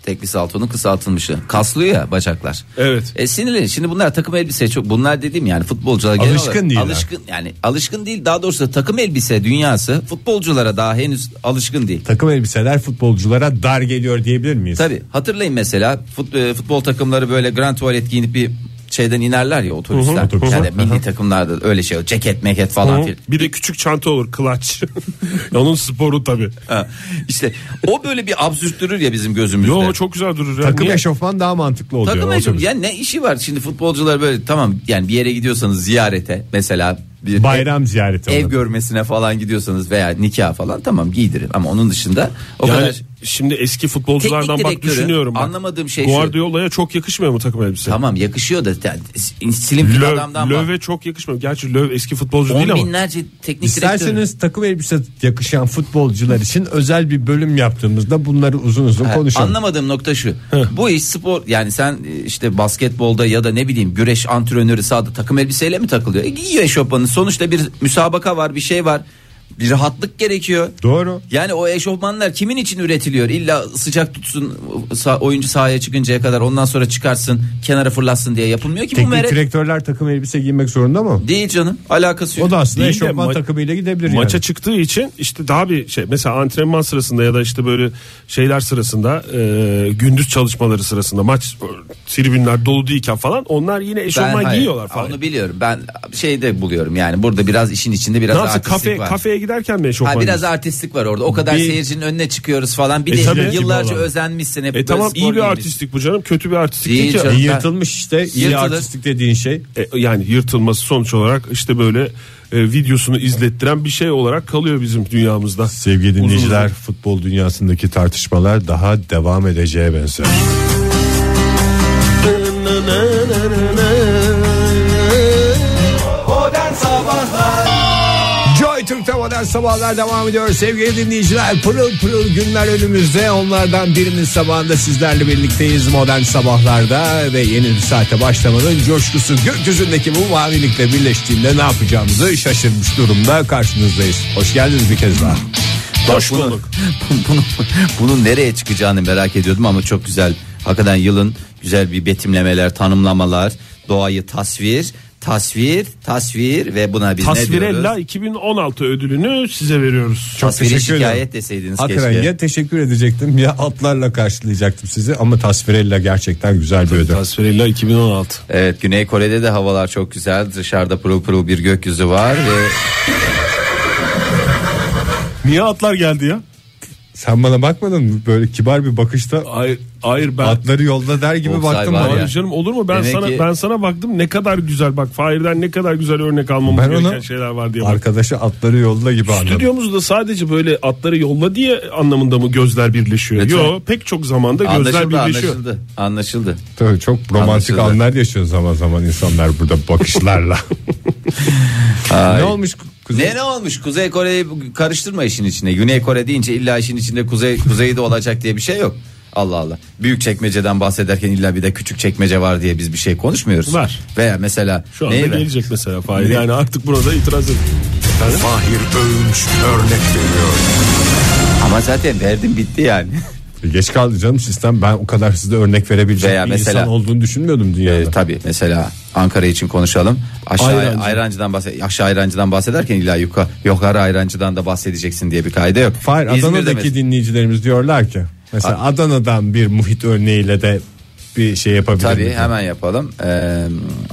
B: Tekli saltonun kısaltılmışı. Kaslıyor ya bacaklar.
D: Evet.
B: E sinirli. Şimdi bunlar takım elbise çok bunlar dediğim yani futbolcular genel
C: Alışkın
B: olarak-
C: değiller.
B: Alışkın yani alışkın değil daha doğrusu da takım elbise dünyası futbolculara daha henüz alışkın değil.
C: Takım elbiseler futbolculara dar geliyor diyebilir miyiz?
B: Tabi hatırlayın mesela fut- e, futbol takımları böyle grand tuvalet giyinip bir şeyden inerler ya otobüsler.
C: otobüs.
B: yani milli takımlarda öyle şey ceket meket falan
D: Hı.
B: filan.
D: Bir de küçük çanta olur kılaç. Onun sporu tabii.
B: Ha, İşte o böyle bir absürt durur ya bizim gözümüzde.
D: Yo çok güzel durur. ya.
C: Takım
D: Niye?
C: eşofman daha mantıklı oluyor.
B: Takım
C: otobüs.
B: elbise yani ne işi var şimdi futbolcular böyle tamam yani bir yere gidiyorsanız ziyarete mesela bir
C: Bayram ziyareti.
B: ev, ev
C: olur.
B: görmesine falan gidiyorsanız veya nikah falan tamam giydirin ama onun dışında o
D: Yani
B: kadar
D: şimdi eski futbolculardan
B: Teknik
D: bak
B: direktörü,
D: düşünüyorum. Bak.
B: anlamadığım şey şu.
D: Guardiola'ya çok yakışmıyor mu takım elbise?
B: tamam yakışıyor da yani, silim bir adamdan
D: Löv,
B: var.
D: Löv'e çok yakışmıyor. Gerçi Löv eski futbolcu değil
B: On
D: ama.
B: binlerce teknik direktör.
C: İsterseniz takım elbise yakışan futbolcular için özel bir bölüm yaptığımızda bunları uzun uzun
B: Ha,
C: konuşalım.
B: Anlamadığım nokta şu. Bu iş spor yani sen e, işte basketbolda ya da ne bileyim güreş antrenörü sahada takım elbiseyle mi takılıyor? E, giyiyor eşofmanı. Sonuçta bir müsabaka var, bir şey var. Bir rahatlık gerekiyor.
C: Doğru.
B: Yani o eşofmanlar kimin için üretiliyor? İlla sıcak tutsun sa- oyuncu sahaya çıkıncaya kadar ondan sonra çıkarsın kenara fırlatsın diye yapılmıyor ki bu
C: Teknik
B: mere.
C: direktörler takım elbise giymek zorunda mı?
B: Değil canım alakası yok.
C: O da aslında
D: Değil de
C: eşofman
D: ma-
C: takımıyla gidebilir
D: Maça
C: yani.
D: çıktığı için işte daha bir şey mesela antrenman sırasında ya da işte böyle şeyler sırasında e, gündüz çalışmaları sırasında maç e, tribünler dolu değilken falan onlar yine eşofman
B: hayır,
D: giyiyorlar falan.
B: Onu biliyorum ben şeyde buluyorum yani burada biraz işin içinde biraz
D: Nasıl
B: artistlik
D: kafe,
B: var.
D: kafeye giderken mi eşofman
B: Ha biraz
D: giyiyorsun?
B: artistlik var orada. O kadar
D: Bir-
B: seyircinin önüne çıkıyoruz falan. Bir
D: E
B: de
D: tabii.
B: yıllarca
C: Gibi olan.
B: özenmişsin hep.
D: E
B: böyle
D: tamam
B: spor
D: iyi bir
B: giymiş.
D: artistlik bu canım kötü bir artistlik
B: Değil
D: değil ki.
B: canım.
C: İyi Yırtılmış işte iyi
B: Yırtılır.
C: artistlik dediğin şey.
D: E, yani yırtılması sonuç olarak işte böyle e, videosunu izlettiren bir şey olarak kalıyor bizim dünyamızda.
C: Sevgili dinleyiciler
D: Uzun
C: futbol dünyasındaki tartışmalar daha devam edeceğe benzer. Joy Türk'te modern sabahlar devam ediyor sevgili dinleyiciler pırıl pırıl günler önümüzde onlardan birinin sabahında sizlerle birlikteyiz modern sabahlarda ve yeni bir saate başlamanın coşkusu gökyüzündeki bu mavilikle birleştiğinde ne yapacağımızı şaşırmış durumda karşınızdayız. Hoş geldiniz bir kez daha.
B: Bak bunu- Bunun, bunun nereye çıkacağını merak ediyordum ama çok güzel. Hakikaten yılın güzel bir betimlemeler, tanımlamalar, doğayı tasvir, tasvir, tasvir ve buna biz ne
D: Tasvirella
B: diyoruz?
D: 2016 ödülünü size veriyoruz.
B: Çok Tasviri
C: teşekkür ederim.
B: şikayet deseydiniz
C: Hakikaten
B: keşke.
C: ya teşekkür edecektim ya atlarla karşılayacaktım sizi ama tasvirella gerçekten güzel bir ödül.
D: Tasvirella 2016.
B: Evet Güney Kore'de de havalar çok güzel. Dışarıda pırıl pırıl bir gökyüzü var ve
D: Niye atlar geldi ya?
C: Sen bana bakmadın mı? Böyle kibar bir bakışta
D: Hayır, hayır ben
C: atları yolda der gibi
B: Oksay
C: baktım
B: var
C: bana.
D: Hayır
B: ya.
D: canım olur mu? Ben
B: Demek
D: sana
B: ki-
D: ben sana baktım ne kadar güzel bak Fahir'den ne kadar güzel örnek almamız
C: Ben
D: gereken
C: ona-
D: şeyler var diye. Bak.
C: Arkadaşı atları yolda gibi anladım.
D: Stüdyomuzda sadece böyle atları yolla diye anlamında mı gözler birleşiyor?
B: Lütfen.
D: Yo pek çok zamanda gözler
B: anlaşıldı
D: birleşiyor.
B: anlaşıldı. Anlaşıldı.
C: Tabii çok romantik
B: Anlaşıldı.
C: anlar yaşıyor zaman zaman insanlar burada bakışlarla. ne olmuş kuzey?
B: Ne ne olmuş? Kuzey Kore'yi karıştırma işin içine. Güney Kore deyince illa işin içinde Kuzey Kuzey'i de olacak diye bir şey yok. Allah Allah. Büyük çekmeceden bahsederken illa bir de küçük çekmece var diye biz bir şey konuşmuyoruz.
D: Var.
B: Veya mesela
D: Şu anda
B: neydi?
D: gelecek mesela Fahir.
B: Ne?
D: Yani artık burada itiraz et.
F: Fahir Öğünç örnek veriyor.
B: Ama zaten verdim bitti yani.
C: Geç kaldı canım sistem. Ben o kadar size örnek verebilecek
B: Veya
C: bir
B: mesela-
C: insan olduğunu düşünmüyordum dünyada.
B: Ee, tabii mesela Ankara için konuşalım. Aşağı
C: Ayrancı.
B: ayrancıdan bahse- aşağı ayrancıdan bahsederken illa yuka, yukarı ayrancıdan da bahsedeceksin diye bir kaide yok.
C: Hayır
B: İzmir'de
C: Adana'daki
B: mes-
C: dinleyicilerimiz diyorlar ki mesela Adana'dan bir muhit örneğiyle de bir şey yapabilir
B: Tabii
C: miyim?
B: hemen yapalım. Ee,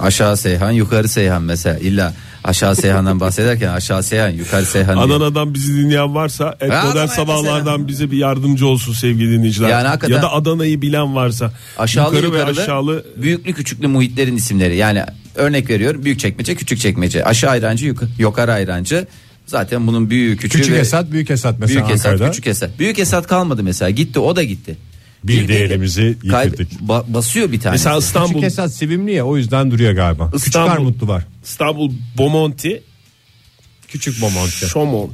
B: aşağı Seyhan, yukarı Seyhan mesela. İlla aşağı Seyhan'dan bahsederken aşağı Seyhan, yukarı Seyhan diye.
D: Adana'dan bizi dinleyen varsa et
B: Adana'ya
D: modern
B: mesela.
D: sabahlardan bize bir yardımcı olsun sevgili dinleyiciler.
B: Yani hakikaten-
D: ya da Adana'yı bilen varsa
B: Aşağılı
D: yukarı ve
B: yukarılı,
D: aşağılı
B: büyüklü küçüklü muhitlerin isimleri. Yani örnek veriyorum büyük çekmece, küçük çekmece, aşağı ayrancı, yuk- yukarı ayrancı. Zaten bunun büyüğü, küçüğü
C: Küçük
B: ve-
C: Esat, Büyük Esat mesela
B: Büyük Esat,
C: Ankara'da.
B: küçük Esat. Büyük Esat kalmadı mesela. Gitti, o da gitti.
C: Bir de elimizi
B: Kay-
C: yitirdik.
B: ba- basıyor bir tane.
D: mesela
C: Küçük
D: İstanbul
C: Esat sevimli ya o yüzden duruyor galiba. Küçük
D: İstanbul.
C: Armutlu var.
D: İstanbul Bomonti
C: Küçük Bomonti.
D: Şomon.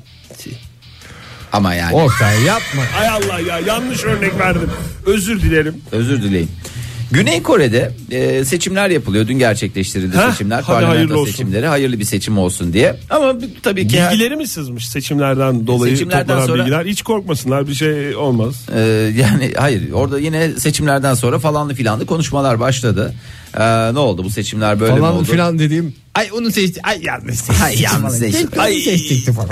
B: Ama yani
C: Oktay yapma.
D: Ay Allah ya yanlış örnek verdim. Özür dilerim.
B: özür dileyim. Güney Kore'de e, seçimler yapılıyor. Dün gerçekleştirildi
D: Heh,
B: seçimler.
D: hadi
B: Parlamento
D: hayırlı olsun.
B: seçimleri. Hayırlı bir seçim olsun diye. Ama b- tabii ki her-
D: Bilgileri mi sızmış seçimlerden dolayı
B: Seçimlerden
D: toplanan
B: sonra-
D: bilgiler? Hiç korkmasınlar bir şey olmaz.
B: Ee, yani hayır orada yine seçimlerden sonra falanlı filanlı konuşmalar başladı. Ee, ne oldu bu seçimler böyle mi
C: Falan
B: oldu?
C: filan dediğim
D: Ay onu seçti. Ay yanlış seçti.
B: Ay, yalnız seçim.
D: Ay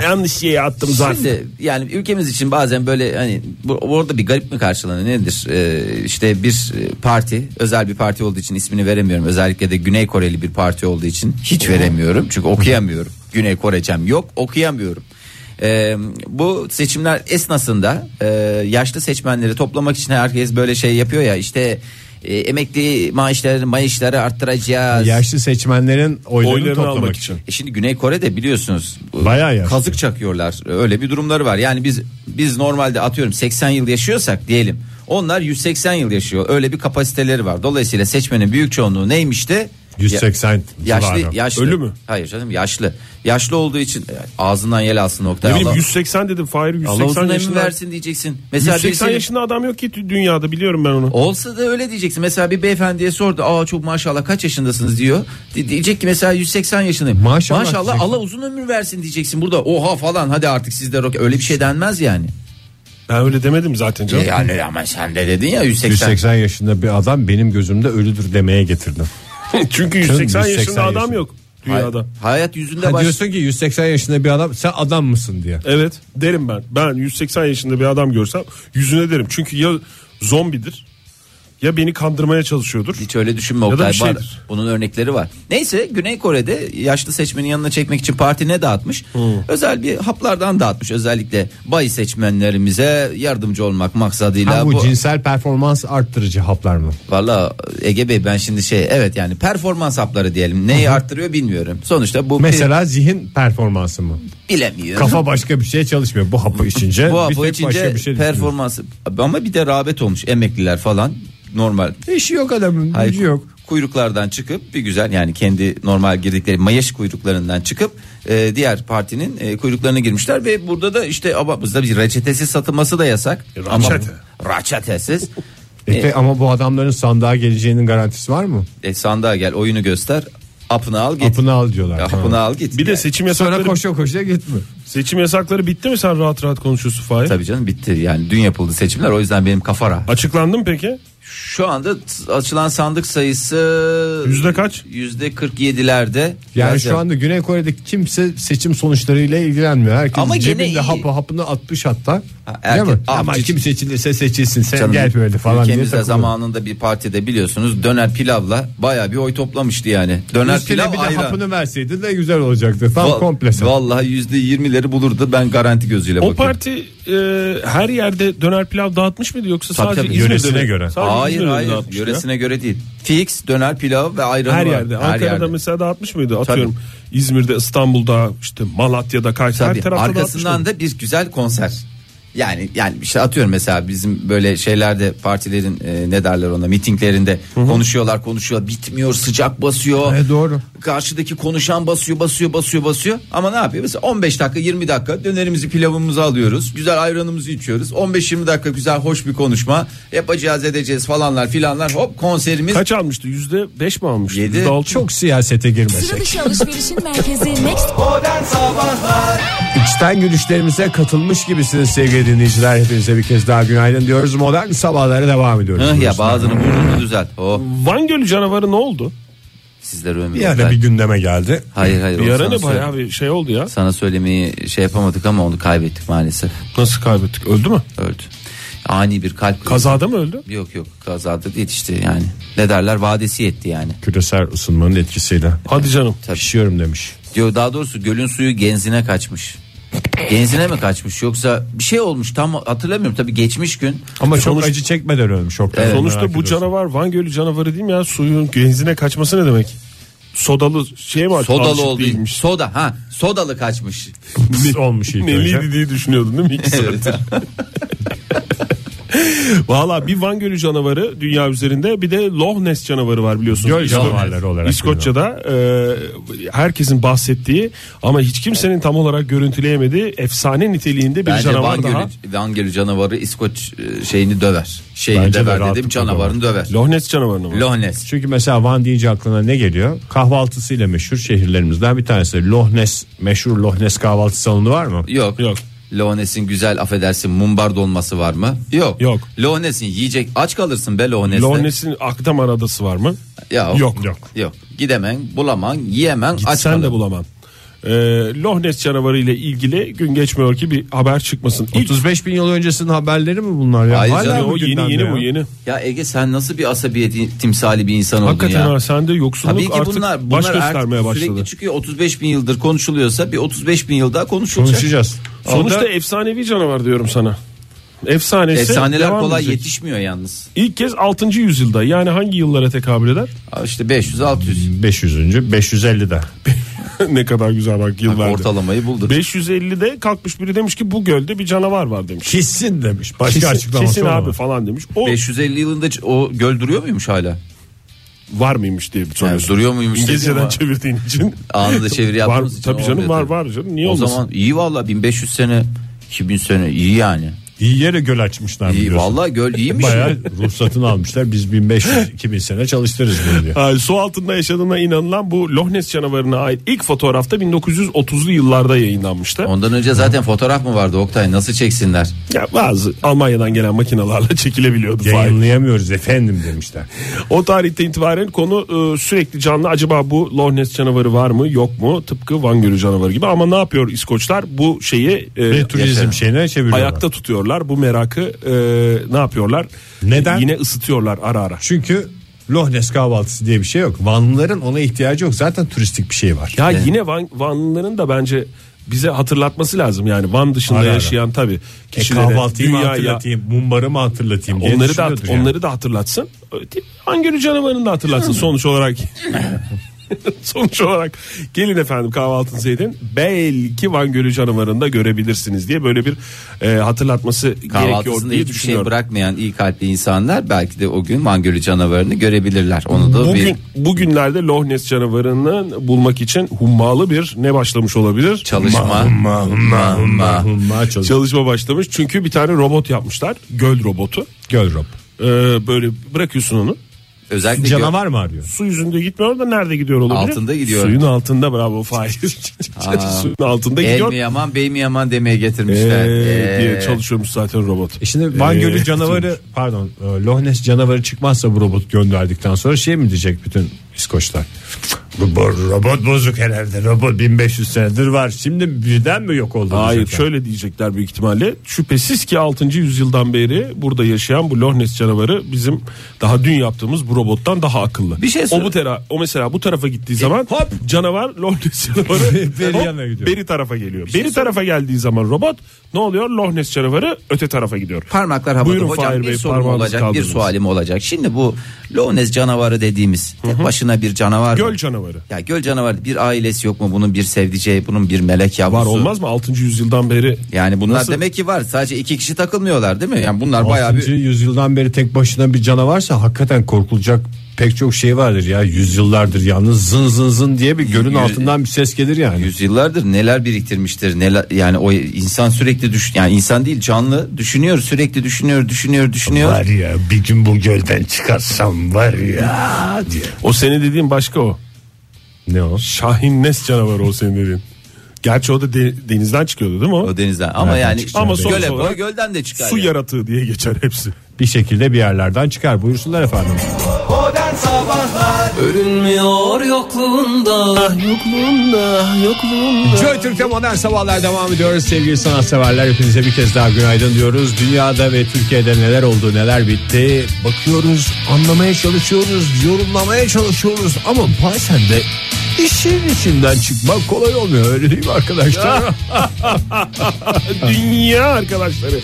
D: yanlış şeye attım zaten.
B: Şimdi yani ülkemiz için bazen böyle hani bu, orada bir garip mi karşılanıyor nedir? Ee, işte bir e, parti özel bir parti olduğu için ismini veremiyorum. Özellikle de Güney Koreli bir parti olduğu için hiç veremiyorum. Çünkü okuyamıyorum. Güney Korecem yok okuyamıyorum. Ee, bu seçimler esnasında e, yaşlı seçmenleri toplamak için herkes böyle şey yapıyor ya işte e, emekli maaşları maaşları arttıracağız.
C: yaşlı seçmenlerin oylarını,
D: Oylarını
C: toplamak
D: almak
C: için.
D: için.
B: E şimdi Güney Kore'de biliyorsunuz bu
C: Bayağı yaşlı.
B: kazık çakıyorlar. Öyle bir durumları var. Yani biz biz normalde atıyorum 80 yıl yaşıyorsak diyelim. Onlar 180 yıl yaşıyor. Öyle bir kapasiteleri var. Dolayısıyla seçmenin büyük çoğunluğu neymişti?
C: 180
B: Ya- yaşlı,
C: civarı.
B: yaşlı.
D: Ölü mü?
B: Hayır canım yaşlı. Yaşlı olduğu için e, ağzından yel alsın nokta.
D: Ne bileyim
B: Allah,
D: 180 dedim Fahir
B: Allah
D: 180
B: uzun ömür
D: yaşında.
B: versin diyeceksin. Mesela
D: 180
B: birisi-
D: yaşında adam yok ki dünyada biliyorum ben onu.
B: Olsa da öyle diyeceksin. Mesela bir beyefendiye sordu. Aa çok maşallah kaç yaşındasınız diyor. Di- diyecek ki mesela 180 yaşındayım.
C: Maşallah diyeceksin.
B: Allah uzun ömür versin diyeceksin burada. Oha falan hadi artık sizde rock. Öyle bir şey denmez yani.
D: Ben öyle demedim zaten
B: E
D: canım.
B: Yani ama sen de dedin ya 180.
C: 180 yaşında bir adam benim gözümde ölüdür demeye getirdim.
D: Çünkü 180, yaşında
C: 180
D: adam
C: yaşında.
D: yok
B: Hay-
D: dünyada.
B: hayat yüzünde
C: Ha
B: baş...
C: diyorsun ki 180 yaşında bir adam sen adam mısın diye.
D: Evet derim ben. Ben 180 yaşında bir adam görsem yüzüne derim. Çünkü ya zombidir ya beni kandırmaya çalışıyordur.
B: Hiç öyle düşünme
D: da
B: Oktay.
C: şey
D: bir
B: Var.
D: şeydir.
B: Bunun örnekleri var. Neyse Güney Kore'de yaşlı seçmenin yanına çekmek için parti ne dağıtmış? Özel bir haplardan dağıtmış. Özellikle bayi seçmenlerimize yardımcı olmak maksadıyla.
C: Ha bu,
B: bu-
C: cinsel performans arttırıcı haplar mı?
B: Valla Ege Bey ben şimdi şey evet yani performans hapları diyelim. Neyi arttırıyor bilmiyorum. Sonuçta bu
C: Mesela zihin performansı mı?
B: bir- bilemiyorum.
C: Kafa başka bir şey çalışmıyor bu hapı içince.
B: bu
C: bir
B: hapı
C: tek başka
B: içince
C: bir şey düşünüyor.
B: performansı ama bir de rağbet olmuş emekliler falan normal.
C: İşi yok adamın,
B: Hayır,
C: gücü yok.
B: Kuyruklardan çıkıp bir güzel yani kendi normal girdikleri mayaş kuyruklarından çıkıp e, diğer partinin e, kuyruklarına girmişler ve burada da işte ama bizde bir reçetesiz satılması da yasak.
D: E, Reçete.
B: Ama, reçetesiz.
C: E, pe- ama bu adamların sandığa geleceğinin garantisi var mı?
B: E, sandığa gel oyunu göster. Apını al git. E,
C: Hapını al diyorlar.
B: Apını al git.
D: Bir de
B: Yani.
D: seçim
C: Sonra
D: yasakları
C: koşa koşa gitme.
D: seçim yasakları bitti mi sen rahat rahat konuşuyorsun Fahir?
B: Tabii canım bitti yani dün yapıldı seçimler o yüzden benim kafa rahat.
D: Açıklandı mı peki?
B: Şu anda t- açılan sandık sayısı
D: Yüzde kaç?
B: Yüzde 47'lerde.
C: Yani
B: Biraz
C: şu
B: yap-
C: anda Güney Kore'deki kimse seçim sonuçlarıyla ilgilenmiyor. Herkes
B: Ama gene iyi.
C: cebinde hapı hapını atmış hatta.
B: Ha, erkek-
C: değil mi?
B: Ah,
C: Ama
B: cici-
C: kim seçilirse seçilsin sen
B: Canım,
C: gel böyle falan diye
B: Ülkemizde
C: takılıyor.
B: zamanında bir partide biliyorsunuz döner pilavla baya bir oy toplamıştı yani. Döner
C: Üstüne
B: pilav
C: bir de
B: ayran.
C: hapını verseydin de güzel olacaktı. Tam
B: Va-
C: komple. sen.
B: Vallahi yüzde yirmileri bulurdu ben garanti gözüyle
D: O
B: bakıyorum.
D: parti e, her yerde döner pilav dağıtmış mıydı yoksa
B: Tabii,
D: sadece
B: tabii.
D: İzmir'de
C: Yöresine
D: mi?
C: göre.
D: Sadece
B: Hayır
D: İzmir'de mi
B: hayır
D: dağıtmıştı ya?
B: yöresine göre değil. Fix döner pilav ve ayranı
D: Her
B: var.
D: yerde. Ankara'da mesela dağıtmış mıydı? Atıyorum İzmir'de, İstanbul'da, işte Malatya'da, Kayseri her
B: Tabii
D: tarafta dağıtmış
B: arkasından
D: mıydı?
B: da bir güzel konser. Yani yani işte atıyorum mesela bizim böyle şeylerde partilerin e, ne derler ona mitinglerinde konuşuyorlar konuşuyor bitmiyor sıcak basıyor.
C: E, doğru.
B: Karşıdaki konuşan basıyor basıyor basıyor basıyor ama ne yapıyor mesela 15 dakika 20 dakika dönerimizi pilavımızı alıyoruz güzel ayranımızı içiyoruz 15-20 dakika güzel hoş bir konuşma yapacağız edeceğiz falanlar filanlar hop konserimiz
D: Kaç almıştı? Yüzde beş mi almıştı?
B: Yedi.
D: Yüzde altı mı?
C: Çok siyasete
E: Sıra
C: girmesek.
E: dışı alışverişin merkezi Next
C: İçten gülüşlerimize katılmış gibisiniz sevgili dinleyiciler. Hepinize bir kez daha günaydın diyoruz. Modern sabahlara devam ediyoruz.
B: Hıh ya bazının burnunu düzelt. Oh
D: Van Gölü canavarı ne oldu?
B: sizlere ömür.
C: Bir ara
B: olsun.
C: bir gündeme geldi.
B: Hayır hayır.
D: Bir
B: o
D: ara
B: sana
D: ne
B: söyle-
D: bayağı bir şey oldu ya.
B: Sana söylemeyi şey yapamadık ama onu kaybettik maalesef.
D: Nasıl kaybettik? Öldü mü?
B: Öldü. Ani bir kalp krizi.
D: Kazada mı öldü?
B: Yok yok kazada yetişti yani. Ne derler vadesi yetti yani.
C: Küresel ısınmanın etkisiyle.
D: Hadi canım.
B: Tabii.
C: Pişiyorum demiş.
B: Diyor daha doğrusu gölün suyu genzine kaçmış. Genzine mi kaçmış yoksa bir şey olmuş tam hatırlamıyorum tabii geçmiş gün.
C: Ama çok
D: Sonuç-
C: acı çekmeden ölmüş. Şoktan
B: E, Evet.
D: Sonuçta
C: merak
D: bu
C: ediyorsun.
D: canavar Van Gölü canavarı değil mi ya? Suyun genzine kaçması ne demek? Sodalı şey mi?
B: Sodalı
D: Alışık
B: oldu.
D: değilmiş.
B: Soda ha sodalı kaçmış.
C: Pis olmuş ilk önce.
D: Neliydi diye düşünüyordun değil mi? İki saat.
B: Evet.
D: Valla bir Van Gölü canavarı dünya üzerinde bir de Loch Ness canavarı var biliyorsunuz.
C: Göl
D: İsko-
C: canavarları olarak
D: İskoçya'da e, herkesin bahsettiği ama hiç kimsenin tam olarak görüntüleyemediği efsane niteliğinde bir
B: Bence
D: canavar
B: Van
D: daha.
B: Gölü, Van Gölü canavarı İskoç e, şeyini döver. Şeyini
C: Bence de
B: döver
C: rahatlıkla
B: dedim canavarını döver.
D: Loch Ness canavarını mı?
B: Loch Ness.
C: Çünkü mesela Van deyince aklına ne geliyor? Kahvaltısıyla meşhur şehirlerimizden bir tanesi. Loch Ness, meşhur Loch Ness kahvaltı salonu var mı?
B: Yok.
D: Yok.
B: Loch Ness'in güzel affedersin mumbar dolması var mı? Yok.
D: Yok.
B: Loch Ness'in yiyecek aç kalırsın be Loch Ness'te.
D: Loch Ness'in Akdamar adası var mı?
B: Ya,
D: Yok. Yok.
B: Yok. Gidemen, bulaman, yiyemen, aç
D: Sen de
B: kalır.
D: bulaman. Ee, Loch Ness canavarı ile ilgili gün geçmiyor ki bir haber çıkmasın. İlk
C: 35 bin yıl öncesinin haberleri mi bunlar ya?
B: Hayır
C: Hala
B: canım,
C: mı
D: o yeni
C: gündemde
D: yeni
C: ya?
D: bu yeni.
B: Ya Ege sen nasıl bir asabiyet timsali bir insan oldun
D: Hakikaten
B: ya.
D: ha, sende yoksulluk
B: Tabii ki
D: artık
B: bunlar, bunlar
D: baş
B: artık
D: göstermeye başladı.
B: Sürekli çıkıyor 35 bin yıldır konuşuluyorsa bir 35 bin yıl daha konuşulacak.
C: Konuşacağız.
D: Sonuçta
C: Orada
D: efsanevi canavar diyorum sana. Efsanesi
B: Efsaneler
D: devam
B: kolay
D: edecek.
B: yetişmiyor yalnız.
D: İlk kez 6. yüzyılda yani hangi yıllara tekabül eder?
B: Aa, İşte 500 600
C: 500. 550'de.
D: ne kadar güzel bak yıl verdi.
B: ortalamayı bulduk.
D: 550'de kalkmış biri demiş ki bu gölde bir canavar var demiş.
C: Kesin demiş. Başka
D: Kesin,
C: açıklaması
D: kesin
C: olamaz.
D: abi falan demiş. O
B: 550 yılında ç- o göl duruyor muymuş hala?
D: var mıymış diye bir
B: Yani
D: soruyorsun.
B: duruyor muymuş? dedi
D: İngilizceden
B: şey ama
D: çevirdiğin için.
B: Anında çeviri
D: Var,
B: yaptığımız için.
D: tabii
B: olmuyor
D: canım var var canım. Niye
B: o
D: olmasın?
B: zaman iyi valla 1500 sene 2000 sene iyi yani.
C: İyi yere göl açmışlar
B: İyi,
C: biliyorsun.
B: valla göl iyiymiş.
C: Bayağı ruhsatını almışlar. Biz 1500-2000 sene çalıştırırız bunu diyor.
D: Ay, Ee, su altında yaşadığına inanılan bu Loch Ness canavarına ait ilk fotoğrafta 1930'lu yıllarda yayınlanmıştı.
B: Ondan önce zaten fotoğraf mı vardı Oktay nasıl çeksinler?
D: Ya bazı Almanya'dan gelen makinalarla çekilebiliyordu. Fahir.
C: Yayınlayamıyoruz efendim demişler.
D: O tarihte itibaren konu e, sürekli canlı. Acaba bu Loch Ness canavarı var mı yok mu? Tıpkı Van Gölü canavarı gibi. Ama ne yapıyor İskoçlar? Bu şeyi e,
C: Ve turizm
B: yaşa.
C: şeyine çeviriyorlar.
D: ayakta tutuyorlar. Bu merakı e, ne yapıyorlar?
C: Neden?
D: Yine ısıtıyorlar ara ara.
C: Çünkü Loch Ness kahvaltısı diye bir şey yok. Vanlıların ona ihtiyacı yok. Zaten turistik bir şey var.
D: Ya yine Van, Vanlıların da bence bize hatırlatması lazım. Yani Van dışında
C: Ara ara.
D: yaşayan tabii
C: E,
D: kişilere,
C: kahvaltıyı mı
D: dünyaya-
C: hatırlatayım, mumbarı mı hatırlatayım diye
D: Onları da
C: düşünüyordur yani.
D: onları da hatırlatsın. Van Gölü canavarını da hatırlatsın sonuç olarak. sonuç olarak gelin efendim kahvaltınızı edin. Belki Van Gölü canavarını da görebilirsiniz diye böyle bir e, hatırlatması gerekiyor
B: Kahvaltısında
D: diye
B: hiçbir şey
D: düşünüyorum.
B: bırakmayan iyi kalpli insanlar belki de o gün Van Gölü canavarını görebilirler. Onu da bir
D: Bugün bugünlerde Loch Ness canavarını bulmak için hummalı bir ne başlamış olabilir?
B: çalışma.
C: Humma, humma, humma, humma çalış-
D: Çalışma başlamış. Çünkü bir tane robot yapmışlar. Göl robotu.
C: Göl Rob.
D: E, böyle bırakıyorsun onu.
B: Özellikle gö-
C: Canavar mı arıyor?
D: su yüzünde gitmiyor da nerede gidiyor olabilir?
B: Altında gidiyor.
D: Suyun altında bravo Fahir. Suyun altında
B: el
D: gidiyor.
B: mi yaman bey mi yaman demeye getirmişler.
D: Ee,
B: Ee,
D: diye çalışıyormuş zaten robot. Ee,
C: E Şimdi Van Gölü canavarı pardon e, Loch Ness canavarı çıkmazsa bu robot gönderdikten sonra şey mi diyecek bütün İskoçlar? Bu, bu robot bozuk herhalde. Robot 1500 senedir var. Şimdi birden mi yok oldu?
D: Hayır
C: diyecekler.
D: şöyle diyecekler büyük ihtimalle. Şüphesiz ki 6. yüzyıldan beri burada yaşayan bu Loch Ness canavarı bizim daha dün yaptığımız bu robottan daha akıllı.
B: Bir şey
D: o
B: söyle-
D: bu tera, o mesela bu tarafa gittiği zaman hop canavar Loch Ness canavarı
C: Beri
D: hop,
C: yana gidiyor.
D: beri tarafa geliyor. beri tarafa geldiği zaman robot ne oluyor? Loch Ness canavarı öte tarafa gidiyor.
B: Parmaklar havada
D: Buyurun
B: hocam
D: Fahir
B: bir
D: Bey,
B: sorum
D: parmağınızı
B: olacak bir
D: kaldırdınız.
B: sualim olacak. Şimdi bu Lones canavarı dediğimiz tek başına bir canavar. mı?
D: Göl canavarı.
B: Ya göl canavarı bir ailesi yok mu? Bunun bir sevdiceği, bunun bir melek yavrusu.
D: Var olmaz mı 6. yüzyıldan beri?
B: Yani bunlar
D: Nasıl-
B: demek ki var. Sadece iki kişi takılmıyorlar değil mi? Yani bunlar bayağı
C: 6.
B: bir
C: yüzyıldan beri tek başına bir canavarsa hakikaten korkulacak pek çok şey vardır ya. Yüzyıllardır yalnız zın zın zın diye bir gölün
B: Yüz-
C: altından bir ses gelir yani.
B: yüzyıllardır neler biriktirmiştir. Neler yani o insan sürekli düş yani insan değil canlı düşünüyor, sürekli düşünüyor, düşünüyor, düşünüyor.
C: ya bir gün bu gölden çıkarsam var ya diye.
D: O senin dediğin başka o.
C: Ne o?
D: Şahin Nes canavarı o senin dediğin. Gerçi o da de- denizden çıkıyordu değil mi o?
B: O denizden. Ama
C: Nereden
B: yani
C: çıkacak?
D: Ama
B: ama
D: sonuç
B: göle koy,
D: olarak
B: gölden de çıkar.
D: Su
B: yani.
D: yaratığı diye geçer hepsi.
C: Bir şekilde bir yerlerden çıkar. Buyursunlar efendim.
G: Görünmüyor yokluğunda
D: Yokluğunda yokluğunda.
C: Joy Türk'te modern sabahlar devam ediyoruz sevgili sanatseverler hepinize bir kez daha günaydın diyoruz dünyada ve Türkiye'de neler oldu neler bitti bakıyoruz anlamaya çalışıyoruz yorumlamaya çalışıyoruz ama bazen de işin içinden çıkmak kolay olmuyor öyle değil mi arkadaşlar
D: Dünya arkadaşları.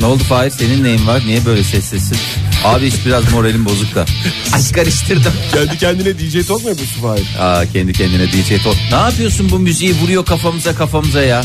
B: Ne oldu Fahir senin neyin var? Niye böyle sessizsin? Abi hiç biraz moralim bozuk da. Aşk karıştırdım.
D: Kendi kendine DJ talk mu yapıyorsun Fahir?
B: Aa, kendi kendine DJ Top. Ne yapıyorsun bu müziği vuruyor kafamıza kafamıza ya.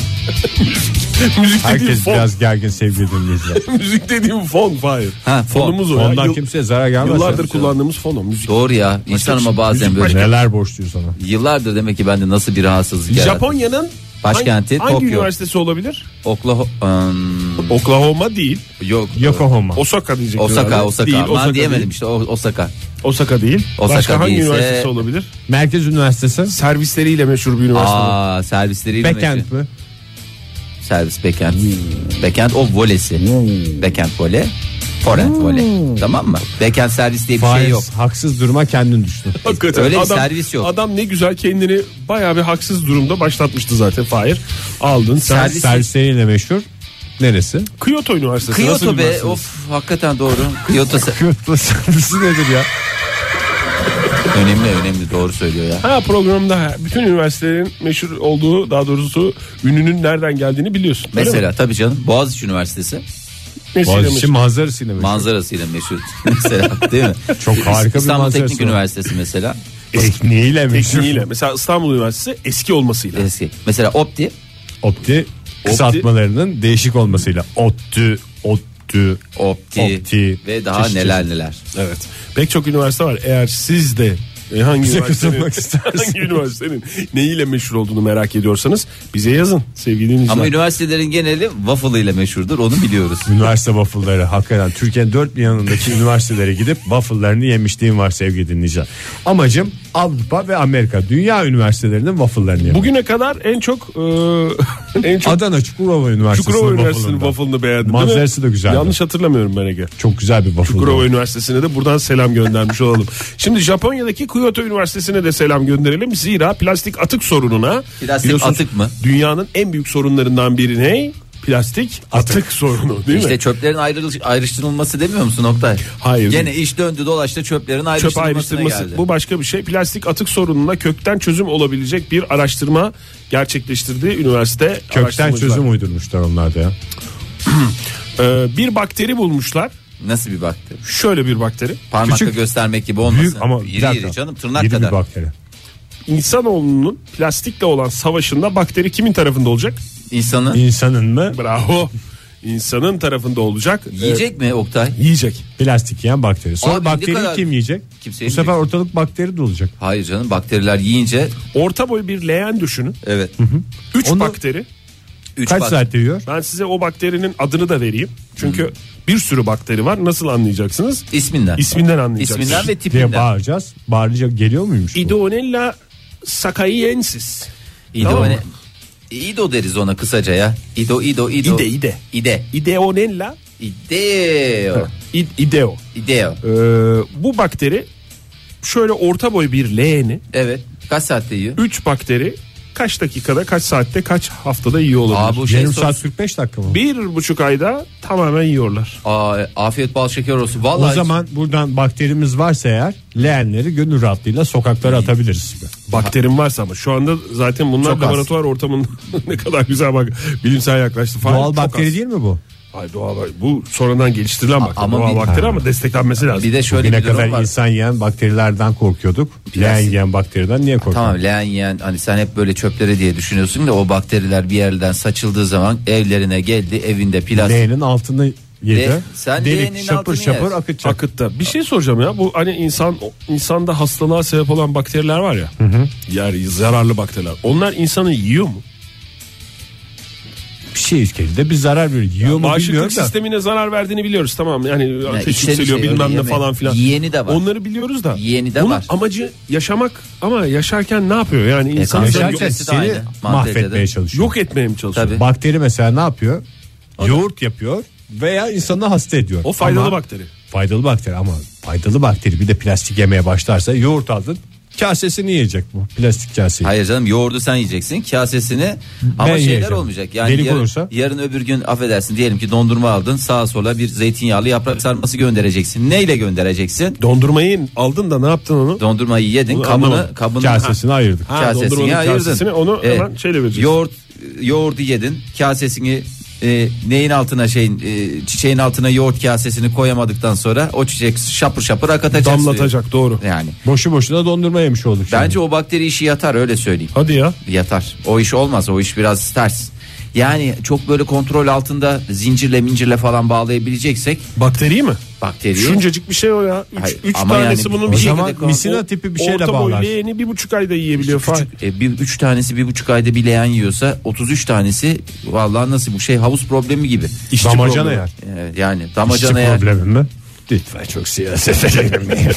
D: Müzik dediğim
C: herkes
D: fon.
C: biraz gergin sevgili dinleyiciler
D: Müzik dediğim fon Fahir.
B: Ha, fon.
D: Fonumuz o. ya.
C: ondan
D: Yıl-
C: kimseye zarar gelmez
D: Yıllardır kullandığımız fon o müzik.
B: Doğru ya. İnsan ama bazen böyle.
C: neler borçluyor sana
B: Yıllardır demek ki bende nasıl bir rahatsızlık yarattı.
D: Japonya'nın
B: Başkenti
D: hangi, hangi
B: Tokyo.
D: üniversitesi olabilir?
B: Oklahoma... Im,
D: Oklahoma değil.
B: yok.
C: Yokohama
D: Osaka diyecektim.
B: Osaka,
D: herhalde.
B: Osaka.
D: Değil,
B: Aman diyemedim işte o- Osaka.
D: Değil. Osaka değil.
B: Osaka
D: Başka hangi
B: değilse-
D: üniversitesi olabilir?
C: Merkez Üniversitesi
D: Servisleriyle meşhur bir üniversite. bu.
B: Aa servisleriyle
C: Backend
B: meşhur.
C: mi?
B: Servis backend. Backend o volesi. Backend vole. Forend vole. Tamam mı? Backend servis diye bir şey
C: Faiz,
B: yok.
C: haksız duruma kendin düştün
D: Hakikaten
B: E, Öyle bir servis yok.
D: Adam ne güzel kendini bayağı bir haksız durumda başlatmıştı zaten Fahir. Aldın sen.
B: Servis-
C: Servisleriyle meşhur neresi?
D: Kyoto Üniversitesi. nasıl
B: Kyoto
D: bir
B: be
D: üniversite?
B: of hakikaten doğru. Kyoto se-
C: Kötü servisi nedir ya?
B: önemli önemli doğru söylüyor ya.
D: Ha programda bütün üniversitelerin meşhur olduğu daha doğrusu ününün nereden geldiğini biliyorsun. öyle mi?
B: Mesela tabii canım Boğaziçi Üniversitesi
D: Mesela
C: Boğaziçi manzarasıyla meşhur.
B: manzarasıyla meşhur mesela değil mi?
C: Çok harika bir
B: İstanbul
C: manzarası
B: Teknik
C: var.
B: Üniversitesi mesela
C: Tekniğiyle meşhur.
D: tekniğiyle. Mesela İstanbul Üniversitesi eski olmasıyla.
B: eski. Mesela Opti
C: Opti kısaltmalarının değişik olmasıyla. Opti, opti,
B: Opti,
C: Opti.
B: ve daha
C: Çeşit
B: neler neler.
D: Evet. Pek çok üniversite var. Eğer siz de e, hangi
C: Bize
D: üniversitenin,
C: katılmak isterseniz.
D: hangi üniversitenin neyiyle meşhur olduğunu merak ediyorsanız bize yazın sevgili dinleyiciler.
B: Ama üniversitelerin geneli waffle ile meşhurdur onu biliyoruz.
C: Üniversite waffle'ları hakikaten Türkiye'nin dört bir yanındaki üniversitelere gidip waffle'larını yemişliğim var sevgili dinleyiciler. Amacım Avrupa ve Amerika dünya üniversitelerinin waffle'larını yemek.
D: Bugüne kadar en çok e, en çok
C: Adana Çukurova Üniversitesi'nin
D: Çukurova Üniversitesi'nin
C: waffle'ından.
D: waffle'ını beğendin değil mi?
C: Manzarası da güzeldi.
D: Yanlış hatırlamıyorum ben Ege.
C: Çok güzel bir waffle.
D: Kurova Üniversitesi'ne de buradan selam göndermiş olalım. Şimdi Japonya'daki Kyoto Üniversitesi'ne de selam gönderelim. Zira plastik atık sorununa.
B: Plastik
D: biliyorsunuz
B: atık mı?
D: Dünyanın en büyük sorunlarından biri ne? Plastik atık, sorunu değil
B: İşte
D: mi?
B: çöplerin ayrıl- ayrıştırılması demiyor musun Oktay?
D: Hayır.
B: Gene iş döndü dolaştı çöplerin
D: Çöp
B: ayrıştırılmasına
D: ayrıştırması
B: geldi.
D: bu başka bir şey. Plastik atık sorununa kökten çözüm olabilecek bir araştırma gerçekleştirdi üniversite.
C: Kökten
D: araştırmacılar.
C: çözüm uydurmuşlar onlar da ya.
D: Ee, bir bakteri bulmuşlar.
B: Nasıl bir bakteri?
D: Şöyle bir bakteri.
B: Parmakla
C: Küçük,
B: göstermek gibi olmasın.
C: Büyük ama bir
B: iri
C: dakika.
B: iri canım tırnak
C: Yeni bir
B: kadar.
C: bakteri.
D: İnsanoğlunun plastikle olan savaşında bakteri kimin tarafında olacak?
B: İnsanı
C: İnsanın mı?
D: Bravo. İnsanın tarafında olacak.
B: yiyecek mi Oktay?
D: Ee, yiyecek.
C: Plastik yiyen bakteri. Sonra
B: Abi ne
C: bakteriyi
B: kadar-
C: kim yiyecek?
B: Kimse
C: Bu
B: yemeyecek.
C: sefer ortalık bakteri dolacak.
B: Hayır canım bakteriler yiyince
D: Ee, Orta boy bir leğen düşünün.
B: evet.
D: 3
C: Onu-
D: bakteri.
B: Üç
C: Kaç
B: bak-
C: saatte yiyor?
D: Ben size o bakterinin adını da vereyim. Çünkü
B: Hmm.
D: bir sürü bakteri var. Nasıl anlayacaksınız?
B: İsminden.
D: İsminden anlayacaksınız.
B: İsminden ve
C: diye
B: tipinden.
C: bağıracağız. Bağıracak geliyor muymuş? bu?
D: Ideonella sakaiensis.
B: İdo
D: Tamam
B: ne-
D: mı?
B: İdo deriz ona kısaca ya. İdo İdo İdo.
D: İde, ide.
B: İde.
D: Ideonella
B: İdeo.
D: id, ideo.
B: İdeo.
D: Ee, bu bakteri şöyle orta boy bir leğeni
B: Evet. Kaç saatte yiyor?
D: 3 bakteri kaç dakikada, kaç saatte, kaç haftada yiyor
B: Aa
D: olabilir.
B: bu şey
C: Yarım saat
B: sos.
C: 45 dakika mı?
D: Bir buçuk ayda tamamen yiyorlar.
B: Aa, afiyet bal şeker olsun. Vallahi
C: o zaman buradan bakterimiz varsa eğer leğenleri gönül rahatlığıyla sokaklara atabiliriz.
D: Bakterim varsa ama şu anda zaten bunlar
C: Çok az.
D: laboratuvar ortamında ne kadar güzel bak bilimsel yaklaştı. Fahir,
C: Doğal
D: çok
C: bakteri
D: az.
C: değil mi bu?
D: Ay doğal bak- bu sonradan geliştirilen bakteri.
B: ama
D: doğal
B: bir-
D: bakteri ama desteklenmesi lazım.
B: bir de şöyle
C: Bugüne
B: bir durum
C: kadar
B: var.
C: insan yiyen bakterilerden korkuyorduk. Leğen yiyen bakteriden niye korkuyoruz?
B: Tamam leğen yiyen hani sen hep böyle çöplere diye düşünüyorsun da o bakteriler bir yerden saçıldığı zaman evlerine geldi evinde plastik.
C: Leğenin altını yedi.
B: Le- sen leğenin
C: Delik şapır
B: altını
C: şapır
B: yersin.
C: akıtacak.
D: Akıtta bir şey soracağım ya bu hani insan insanda hastalığa sebep olan bakteriler var ya. Yani zararlı bakteriler. Onlar insanı yiyor mu?
C: bir şey ülkeli de bir zarar veriyor. Yiyor mu bilmiyorum
D: Bağışıklık
C: da.
D: sistemine zarar verdiğini biliyoruz tamam yani ateş
B: içten
D: yükseliyor
B: içe
D: bilmem
B: öyle
D: ne
B: yeme-
D: falan filan.
B: şey Yiyeni de var.
D: Onları biliyoruz da.
B: Yiyeni de
D: Bunun
B: var. E,
D: amacı yaşamak ama yaşarken ne yapıyor yani insan
B: kanser
D: yok,
C: Yaşarken
B: hücresi de
C: seni
B: aynı. Maddede de.
C: mahvetmeye çalışıyor.
D: yok etmeye mi çalışıyor?
B: Tabii.
C: Bakteri mesela ne yapıyor? Yoğurt yapıyor veya insanı hasta ediyor.
D: O faydalı
C: Ama-
D: bakteri.
C: Faydalı bakteri ama faydalı bakteri bir de plastik yemeye başlarsa yoğurt aldın Kasesini yiyecek bu. Plastik kaseyi.
B: Hayır canım yoğurdu sen yiyeceksin kasesini ama şeyler
C: yiyeceğim.
B: olmayacak. Yani
C: Delik
B: yarın,
C: olursa?
B: yarın öbür gün affedersin diyelim ki dondurma aldın sağa sola bir zeytinyağlı yaprak sarması göndereceksin. Neyle göndereceksin?
D: Dondurmayı aldın da ne yaptın onu?
B: Dondurmayı yedin kabını,
D: anlamadım.
B: kabını
C: Kasesini ayırdık.
B: Ha,
D: Ha,
B: kasesini
D: dondurmanın
B: ayırdın.
D: kasesini onu hemen şeyle vereceksin.
B: Yoğurt, yoğurdu yedin kasesini e, neyin altına şeyin e, çiçeğin altına yoğurt kasesini koyamadıktan sonra o çiçek şapır şapır akatacak. suyu.
D: Damlatacak doğru.
B: Yani.
C: Boşu boşuna dondurma yemiş olduk. şimdi.
B: Bence o bakteri işi yatar öyle söyleyeyim.
D: Hadi ya.
B: yatar. O iş olmaz. O iş biraz ters. Yani çok böyle kontrol altında zincirle mincirle falan bağlayabileceksek
D: Bakteri mi?
B: bakteriyi
D: Şuncacık bir şey o ya. Üç,
B: Hayır,
D: üç
B: ama
D: tanesi
B: yani
D: bunun
B: o
D: bir
B: zaman
D: şekilde-
C: misina tipi bir şeyle
D: Orta boylu
C: bağlarsın.
D: yeğeni bir buçuk ayda yiyebiliyor falan.
B: küçük, e, bir, üç tanesi bir buçuk ayda bir leğen yiyorsa 33 tanesi vallahi nasıl bu şey havuz problemi gibi.
C: İşçi damacana yer.
B: Evet, yani
C: İşçi
B: damacana yer.
C: problemi mi? Lütfen çok siyasete girmeyin.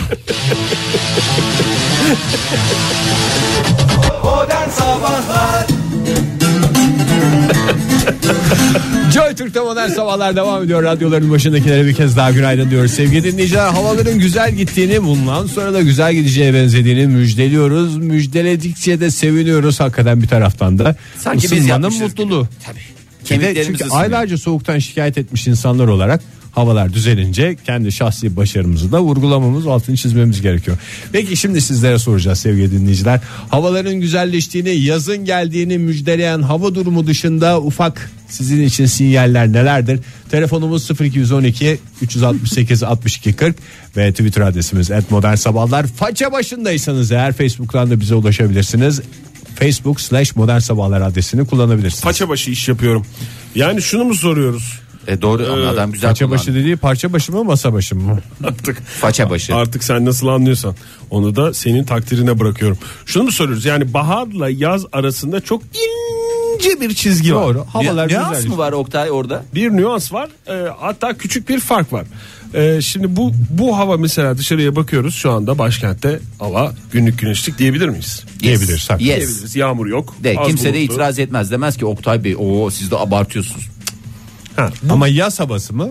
C: Joy Türk'te modern sabahlar devam ediyor. Radyoların başındakilere bir kez daha günaydın diyoruz. Sevgili dinleyiciler havaların güzel gittiğini bundan sonra da güzel gideceğe benzediğini müjdeliyoruz. Müjdeledikçe de seviniyoruz hakikaten bir taraftan da.
B: Sanki biz
C: Isınmanın
B: yapmışız gibi.
C: mutluluğu.
B: Tabii.
C: Bir de
B: Kemiklerimiz
C: çünkü
B: ısınıyor.
C: aylarca soğuktan şikayet etmiş insanlar olarak havalar düzelince kendi şahsi başarımızı da vurgulamamız altını çizmemiz gerekiyor. Peki şimdi sizlere soracağız sevgili dinleyiciler. Havaların güzelleştiğini yazın geldiğini müjdeleyen hava durumu dışında ufak sizin için sinyaller nelerdir? Telefonumuz 0212 368 62 40 ve Twitter adresimiz @modernsabahlar. Faça başındaysanız eğer Facebook'tan da bize ulaşabilirsiniz. Facebook slash modern sabahlar adresini kullanabilirsiniz.
D: Paça başı iş yapıyorum. Yani şunu mu soruyoruz?
B: E doğru ama adam güzel
C: Parça
B: kullandı.
C: başı dediği parça başı mı masa başı mı?
D: Artık
B: Faça başı.
D: artık sen nasıl anlıyorsan onu da senin takdirine bırakıyorum. Şunu mu soruyoruz? Yani baharla yaz arasında çok ince bir çizgi var.
C: Doğru. Havalar
B: Ne
C: güzel.
B: az
C: işte.
B: mı var Oktay orada?
D: bir nüans var. Ee, hatta küçük bir fark var. Ee, şimdi bu bu hava mesela dışarıya bakıyoruz şu anda başkentte hava günlük güneşlik diyebilir miyiz?
C: Diyebiliriz, haklı.
B: Yes.
D: Diyebiliriz. Yağmur yok.
B: De,
D: az
B: kimse de
D: bulutlu.
B: itiraz etmez. Demez ki Oktay Bey o siz de abartıyorsunuz.
D: Ha,
C: Ama yaz havası mı?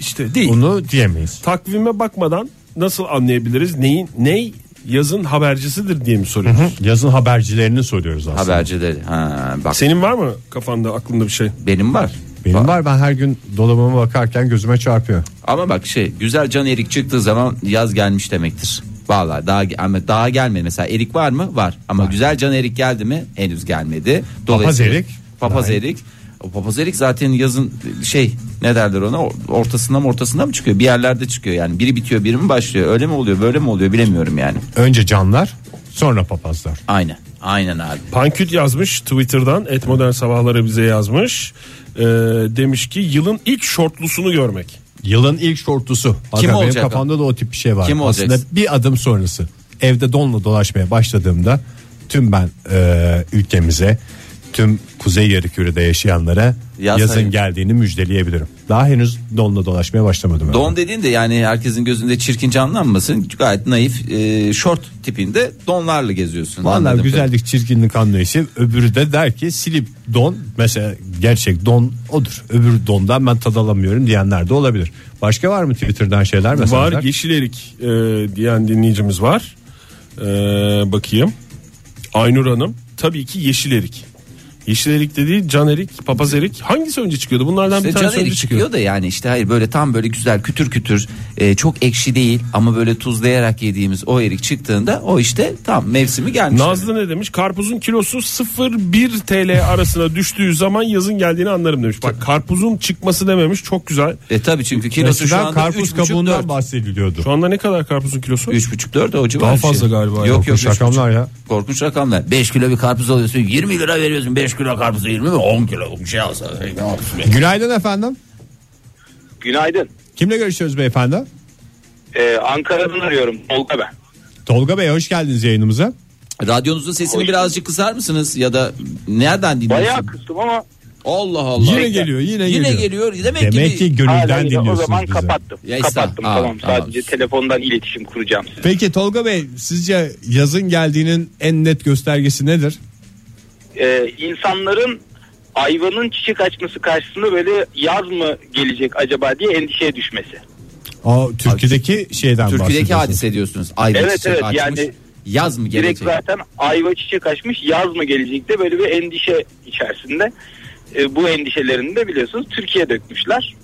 D: işte değil.
C: Onu diyemeyiz.
D: Takvime bakmadan nasıl anlayabiliriz? Neyin ney yazın habercisidir diye mi soruyoruz?
C: Yazın habercilerini soruyoruz aslında.
B: Habercileri. Ha, bak
D: Senin var mı kafanda aklında bir şey?
B: benim var.
C: Benim var ben her gün dolabıma bakarken gözüme çarpıyor.
B: Ama bak şey güzel can erik çıktığı zaman yaz gelmiş demektir. Vallahi daha ama daha gelmedi mesela erik var mı? Var. Ama güzel can erik geldi mi? Henüz gelmedi.
C: erik?
B: Papaz erik. O papaz erik zaten yazın şey ne derler ona or- ortasından mı ortasından mı çıkıyor? Bir yerlerde çıkıyor yani. Biri bitiyor biri mi başlıyor? Öyle mi oluyor böyle mi oluyor bilemiyorum yani.
C: Önce canlar sonra papazlar.
B: Aynen. Aynen abi.
D: Panküt yazmış Twitter'dan et modern sabahları bize yazmış. Ee, demiş ki yılın ilk şortlusunu görmek.
C: Yılın ilk şortlusu. Hakan, benim
B: olacak o?
C: kafamda da o tip bir şey var.
B: Kim olacak?
C: Aslında bir adım sonrası. Evde donla dolaşmaya başladığımda tüm ben e, ülkemize tüm kuzey yarı yaşayanlara
B: Yaz
C: yazın
B: hayır.
C: geldiğini müjdeleyebilirim. Daha henüz donla dolaşmaya başlamadım. ben.
B: Don dediğin de yani herkesin gözünde çirkin canlanmasın. Gayet naif e, şort tipinde donlarla geziyorsun.
C: Vallahi
B: Anladım.
C: güzellik çirkinlik anlayışı öbürü de der ki silip don mesela gerçek don odur. Öbür dondan ben tad alamıyorum diyenler de olabilir. Başka var mı Twitter'dan şeyler mesela?
D: Var yeşil erik e, diyen dinleyicimiz var. E, bakayım. Aynur Hanım tabii ki yeşil erik. Yeşil erik dediği can erik, papaz erik. Hangisi önce çıkıyordu? Bunlardan bir
B: İşte
D: tanesi
B: can
D: önce
B: eri
D: çıkıyor.
B: E, çıkıyor da yani işte hayır böyle tam böyle güzel kütür kütür e, çok ekşi değil ama böyle tuzlayarak yediğimiz o erik çıktığında o işte tam mevsimi gelmiş.
D: Nazlı ne demiş? Karpuzun kilosu 0-1 TL arasına düştüğü zaman yazın geldiğini anlarım demiş. Bak karpuzun çıkması dememiş çok güzel.
B: E tabi çünkü kilosu şu
C: Eskiden
B: anda
C: karpuz
B: 3,5
C: kabuğundan
B: 4.
C: bahsediliyordu.
D: Şu anda ne kadar karpuzun kilosu?
B: 3,5 4 o civar
C: Daha
B: bir şey.
C: fazla galiba ya.
B: Yok
C: Korkunç
B: yok. üç buçuk.
C: rakamlar ya.
B: Korkunç rakamlar. 5 kilo bir karpuz alıyorsun 20 lira veriyorsun 5 kilo karpuzu 20 mi 10 kilo bir şey alsa. ne yapıyorsun be?
C: Günaydın efendim.
H: Günaydın.
C: Kimle görüşüyoruz beyefendi?
H: Ee, Ankara'dan arıyorum. Tolga ben.
C: Tolga Bey hoş geldiniz yayınımıza.
B: Radyonuzun sesini
H: Hoş
B: birazcık kısar mısınız ya da nereden dinliyorsunuz?
H: Bayağı kıstım ama
B: Allah Allah.
C: Yine geliyor yine,
B: Yine
C: geliyor.
B: geliyor. Demek,
C: Demek ki
H: hala
C: gönülden
H: yine o
C: dinliyorsunuz
H: zaman
C: bizi.
H: kapattım.
B: Ya estağ-
H: kapattım
B: Aa,
H: tamam.
B: tamam.
H: Sadece telefondan iletişim kuracağım size.
C: Peki Tolga Bey sizce yazın geldiğinin en net göstergesi nedir?
H: Ee, insanların ayvanın çiçek açması karşısında böyle yaz mı gelecek acaba diye endişeye düşmesi.
C: O Türkiye'deki şeyden
B: Türkiye'deki
C: bahsediyorsunuz.
B: hadise diyorsunuz. Ayda
H: Evet
B: çiçek
H: evet
B: açmış.
H: yani
B: Yaz mı
H: Direkt
B: gelecek?
H: zaten ayva çiçek açmış yaz mı gelecek de böyle bir endişe içerisinde. E, bu endişelerini de biliyorsunuz Türkiye'ye dökmüşler.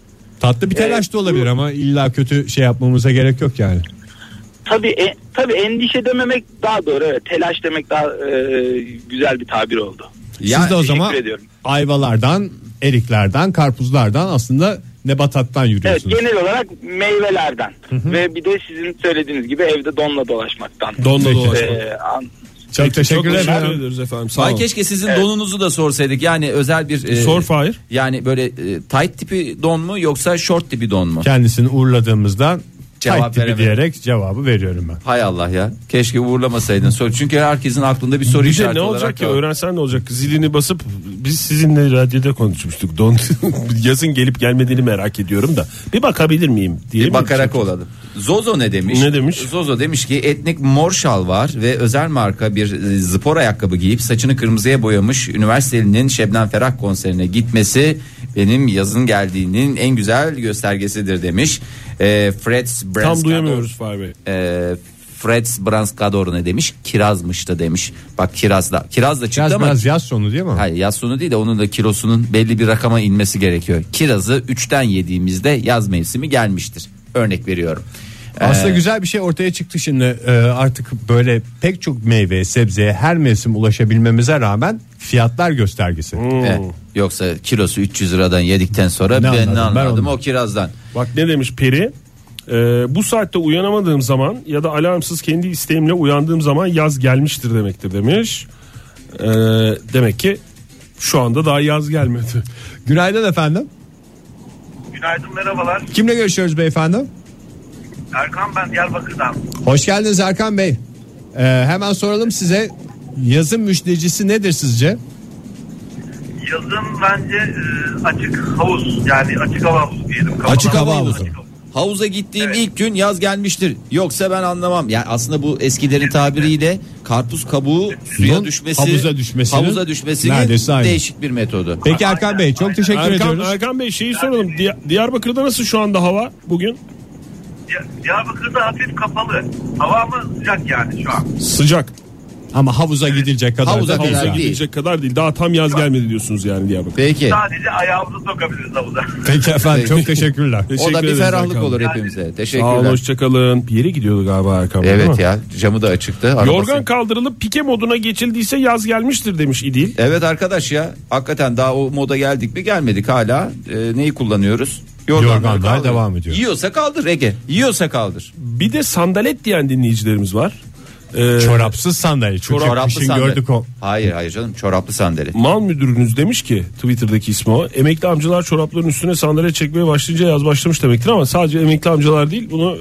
C: Tatlı bir telaş da olabilir ama illa kötü şey yapmamıza gerek yok yani.
H: Tabii, e, tabii endişe dememek daha doğru. Evet. Telaş demek daha e, güzel bir tabir oldu.
B: Ya,
C: Siz de o
H: teşekkür
C: zaman
H: ediyorum.
C: ayvalardan, eriklerden, karpuzlardan aslında nebatattan
H: Evet
C: yürüyorsunuz.
H: genel olarak meyvelerden ve bir de sizin söylediğiniz gibi evde donla dolaşmaktan.
D: Donla dolaşmak.
H: Ee, an-
D: Çok
C: Çok teşekkür
D: teşekkür
C: ederim.
D: ederiz efendim. Sağ
B: Ay
D: olun.
B: keşke sizin donunuzu da sorsaydık. Yani özel bir e,
D: Sor Fahir.
B: Yani böyle e, tight tipi don mu yoksa short tipi don mu?
C: Kendisini uğurladığımızda
B: Cevap
C: cevap tipi
B: veremedim.
C: diyerek cevabı veriyorum ben.
B: Hay Allah ya. Keşke uğurlamasaydın. Sor. Çünkü herkesin aklında bir soru
D: Bir de
B: işareti
D: ne
B: olarak
D: olacak ki
B: kaldı.
D: öğrensen ne olacak zilini basıp biz sizinle radyoda konuşmuştuk don yazın gelip gelmediğini merak ediyorum da bir bakabilir miyim diye
B: Bir bakarak olalım. Zozo ne demiş?
D: Ne demiş?
B: Zozo demiş ki etnik mor şal var ve özel marka bir e, spor ayakkabı giyip saçını kırmızıya boyamış üniversitelinin Şebnem Ferah konserine gitmesi benim yazın geldiğinin en güzel göstergesidir demiş. E, Fred
D: tam
B: Branskador-
D: duyamıyoruz Fahir Bey.
B: E, Fred Branskador ne demiş? Kirazmış da demiş. Bak kiraz da kiraz da çıktı
C: Biraz
B: ama
C: biraz yaz sonu değil mi?
B: Hayır yaz sonu değil de onun da kilosunun belli bir rakama inmesi gerekiyor. Kirazı 3'ten yediğimizde yaz mevsimi gelmiştir. Örnek veriyorum.
C: Aslında
B: e-
C: güzel bir şey ortaya çıktı şimdi Ee, artık böyle pek çok meyve sebzeye her mevsim ulaşabilmemize rağmen fiyatlar göstergesi.
B: Evet. Yoksa kilosu 300 liradan yedikten sonra
C: Ne
B: ben
C: anladım,
B: ne
C: ben
B: anladım
C: onu-
B: o kirazdan.
D: Bak ne demiş Peri? Ee, bu saatte uyanamadığım zaman ya da alarmsız kendi isteğimle uyandığım zaman yaz gelmiştir demektir demiş. Ee, demek ki şu anda daha yaz gelmedi.
C: Günaydın efendim.
I: Günaydın merhabalar.
C: Kimle görüşüyoruz beyefendi?
I: Erkan ben Diyarbakır'dan.
C: Hoş geldiniz Erkan Bey. Ee, hemen soralım size yazın müjdecisi nedir sizce?
I: Yazın bence e, açık havuz yani açık hava havuzu diyelim. Kapanan
C: Açık hava havuzu.
I: Açık hava-
B: Havuza gittiğim ilk gün yaz gelmiştir. Yoksa ben anlamam. Yani aslında bu eskilerin tabiriyle karpuz kabuğu suya
C: Bunun
B: düşmesi,
C: havuza düşmesinin
B: havuza düşmesinin
C: neredeyse aynı.
B: değişik bir metodu.
C: Peki Erkan Bey çok teşekkür
D: Erkan,
C: ediyoruz.
D: Erkan Bey şeyi soralım. Diya- Diyarbakır'da nasıl şu anda hava bugün?
I: Diya- Diyarbakır'da hafif kapalı. Hava mı sıcak yani şu an?
D: Sıcak.
C: Ama havuza gidilecek kadar
B: Havuza
C: da değil.
B: kadar
D: Havuza
B: Güzel.
D: gidilecek kadar değil. Daha tam yaz gelmedi diyorsunuz yani Diyarbakır.
B: Peki.
I: Sadece ayağımızı sokabiliriz havuza.
C: Peki efendim çok teşekkürler.
B: O da bir
D: ederiz
B: ferahlık
D: Erkan.
B: olur hepimize.
D: Sağ olun
B: Teşekkürler.
D: hoşçakalın. Bir yere gidiyordu galiba Erkan Bey, değil
B: Evet
D: mi?
B: ya camı da açıktı. Arabası-
D: Yorgan kaldırılıp pike moduna geçildiyse yaz gelmiştir demiş İdil.
B: Evet arkadaş ya hakikaten daha o moda geldik mi gelmedik hala Ee, neyi kullanıyoruz?
C: Yorganlar
B: kaldır.
C: devam ediyor.
B: Yiyorsa kaldır Ege yiyorsa kaldır.
D: Bir de sandalet diyen dinleyicilerimiz var. Ee,
C: Çorapsız sandalye. Çünkü
D: şey
C: kışın gördük o.
B: Hayır hayır canım çoraplı sandalye.
D: Mal müdürünüz demiş ki Twitter'daki ismi o. Emekli amcalar çorapların üstüne sandalye çekmeye başlayınca yaz başlamış demektir ama sadece emekli amcalar değil bunu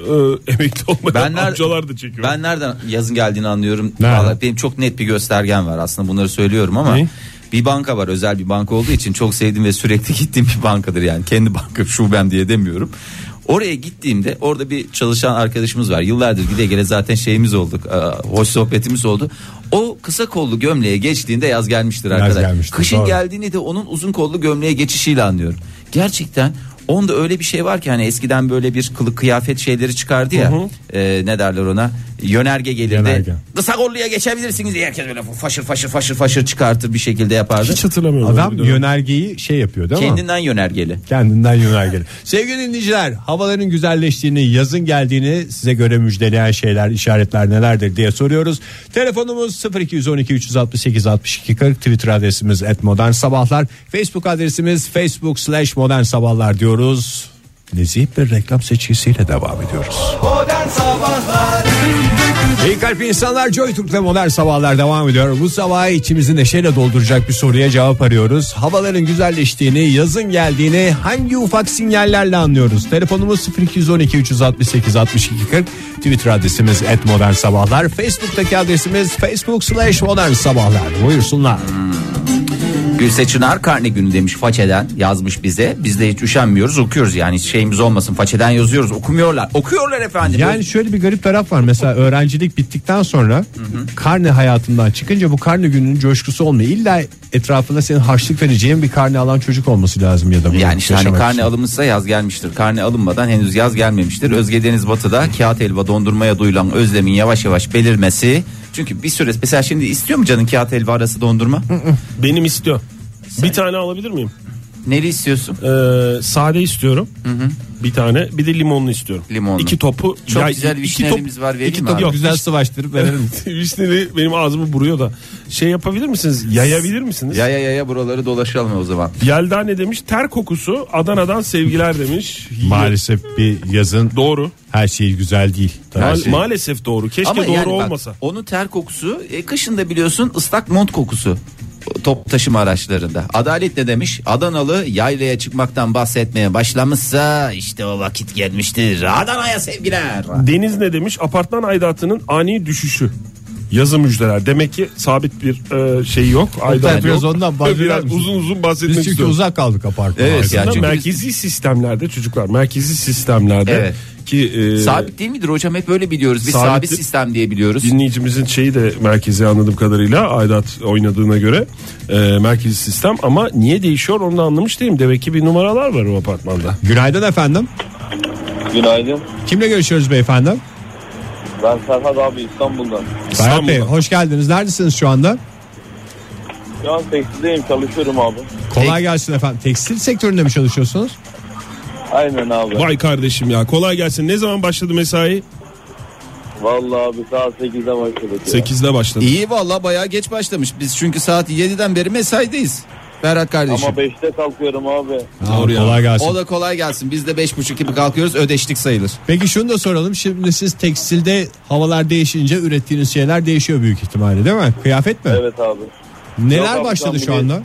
D: e, emekli olmayan
B: Ben ner-
D: amcalar da çekiyor.
B: Ben nereden yazın geldiğini anlıyorum.
C: Nereden?
B: Vallahi benim çok net bir göstergem var aslında bunları söylüyorum ama.
D: Ne?
B: Bir banka var özel bir banka olduğu için çok sevdiğim ve sürekli gittiğim bir bankadır yani kendi banka şubem diye demiyorum. Oraya gittiğimde orada bir çalışan arkadaşımız var. Yıllardır gide gele zaten şeyimiz olduk. e, Hoş sohbetimiz oldu. O kısa kollu gömleğe geçtiğinde yaz gelmiştir arkadaş.
C: gelmiştir,
B: Kışın
C: doğru.
B: geldiğini de onun uzun kollu gömleğe geçişiyle anlıyorum. Gerçekten onda öyle bir şey var ki hani eskiden böyle bir kılık kıyafet şeyleri çıkardı ya. e, ne derler ona? Yönerge gelirdi.
C: Yönerge.
B: Kısa kolluya geçebilirsiniz diye herkes böyle faşır faşır faşır faşır çıkartır bir şekilde yapardı.
D: Hiç hatırlamıyorum.
C: Adam
D: öyle bir dönem.
C: yönergeyi şey yapıyor değil mi?
B: Kendinden yönergeli.
C: Kendinden yönergeli. Sevgili dinleyiciler havaların güzelleştiğini yazın geldiğini size göre müjdeleyen şeyler işaretler nelerdir diye soruyoruz. Telefonumuz 0212 368 62 40 Twitter adresimiz et modern sabahlar Facebook adresimiz facebook slash modern sabahlar diyoruz. Nezih bir reklam seçkisiyle devam ediyoruz. İyi kalp insanlar Joy Türk'le modern sabahlar devam ediyor. Bu sabah içimizi neşeyle dolduracak bir soruya cevap arıyoruz. Havaların güzelleştiğini, yazın geldiğini hangi ufak sinyallerle anlıyoruz? Telefonumuz 0212 368 62 40. Twitter adresimiz et modern sabahlar. Facebook'taki adresimiz facebook slash modern sabahlar. Buyursunlar.
B: Gülseçin Arkarne günü demiş façeden yazmış bize. Biz de hiç üşenmiyoruz okuyoruz yani hiç şeyimiz olmasın façeden yazıyoruz okumuyorlar. Okuyorlar efendim.
C: Yani şöyle bir garip taraf var. Mesela öğrencilik bittikten sonra karne hayatından çıkınca bu karne gününün coşkusu olmuyor. İlla etrafında senin harçlık vereceğin bir karne alan çocuk olması lazım ya da. bunu
B: yani işte hani
C: yaşamak
B: karne
C: için.
B: alınmışsa yaz gelmiştir. Karne alınmadan henüz yaz gelmemiştir. Özge Deniz Batı'da kağıt elba dondurmaya duyulan özlemin yavaş yavaş belirmesi Çünkü bir süre mesela şimdi istiyor mu canın kağıt helva arası dondurma?
D: Benim istiyor. Bir tane alabilir miyim?
B: Neli istiyorsun?
D: Ee, sade istiyorum. Bir tane. Bir de limonlu istiyorum.
B: Limonlu.
D: İki topu.
B: Çok
D: Ya,
B: güzel
D: iki
B: vişnelerimiz var vereyim
D: iki
B: mi
D: top-
B: abi?
D: Yok,
C: Güzel sıvaştırıp verelim.
D: Vişneli benim ağzımı buruyor da. Şey yapabilir misiniz? Yayabilir misiniz?
B: Ya ya ya ya buraları dolaşalım o zaman.
D: Yelda ne demiş? Ter kokusu Adana'dan sevgiler demiş.
C: Maalesef bir yazın
D: Doğru.
C: her şey güzel değil.
B: Her
D: Ma-
B: şey.
D: Maalesef doğru. Keşke doğru
B: yani bak,
D: olmasa.
B: onun ter kokusu e, kışın da biliyorsun ıslak mont kokusu o top taşıma araçlarında. Adalet ne demiş? Adanalı yaylaya çıkmaktan bahsetmeye başlamışsa işte o vakit gelmiştir. Adana'ya sevgiler.
D: Deniz ne demiş? Apartman aidatının ani düşüşü. Yazı müjdeler. Demek ki sabit bir e, şey yok. Aidat
C: biraz
D: yok.
C: ondan bahseder
D: Biraz
C: misin?
D: uzun uzun bahsetmek
C: Biz çünkü
D: istiyorum.
C: uzak kaldık apartmana.
B: Evet ya
D: Aslında
B: çünkü biz-
D: merkezi sistemlerde çocuklar merkezi sistemlerde
B: Evet.
D: ki e,
B: sabit değil midir hocam hep böyle biliyoruz. Biz
D: Sabittir.
B: sabit sistem diye biliyoruz.
D: dinleyicimizin şeyi de merkezi anladığım kadarıyla aidat oynadığına göre e, merkezi sistem ama niye değişiyor onu da anlamış değilim. Demek ki bir numaralar var o apartmanda.
C: Günaydın efendim.
H: Günaydın.
C: Kimle görüşüyoruz beyefendi?
H: Ben Serhat abi İstanbul'dan.
C: Serhat Bey hoş geldiniz. Neredesiniz şu anda?
H: Şu an tekstildeyim çalışıyorum abi.
C: Kolay gelsin efendim. Tekstil sektöründe mi çalışıyorsunuz?
H: Aynen abi.
D: Vay kardeşim ya kolay gelsin. Ne zaman başladı mesai?
H: Vallahi abi saat 8'de başladık.
D: 8'de başladı.
B: İyi valla bayağı geç başlamış. Biz çünkü saat 7'den beri mesaidayız. Berat kardeşim.
H: 5'te kalkıyorum abi.
C: Doğru Kolay gelsin.
B: O da kolay gelsin. Biz de 5.30 gibi kalkıyoruz. Ödeştik sayılır.
C: Peki şunu da soralım. Şimdi siz tekstilde havalar değişince ürettiğiniz şeyler değişiyor büyük ihtimalle değil mi? Kıyafet mi?
H: Evet abi.
C: Neler
H: Yok,
C: başladı
H: ablam,
C: şu
H: bir-
C: anda?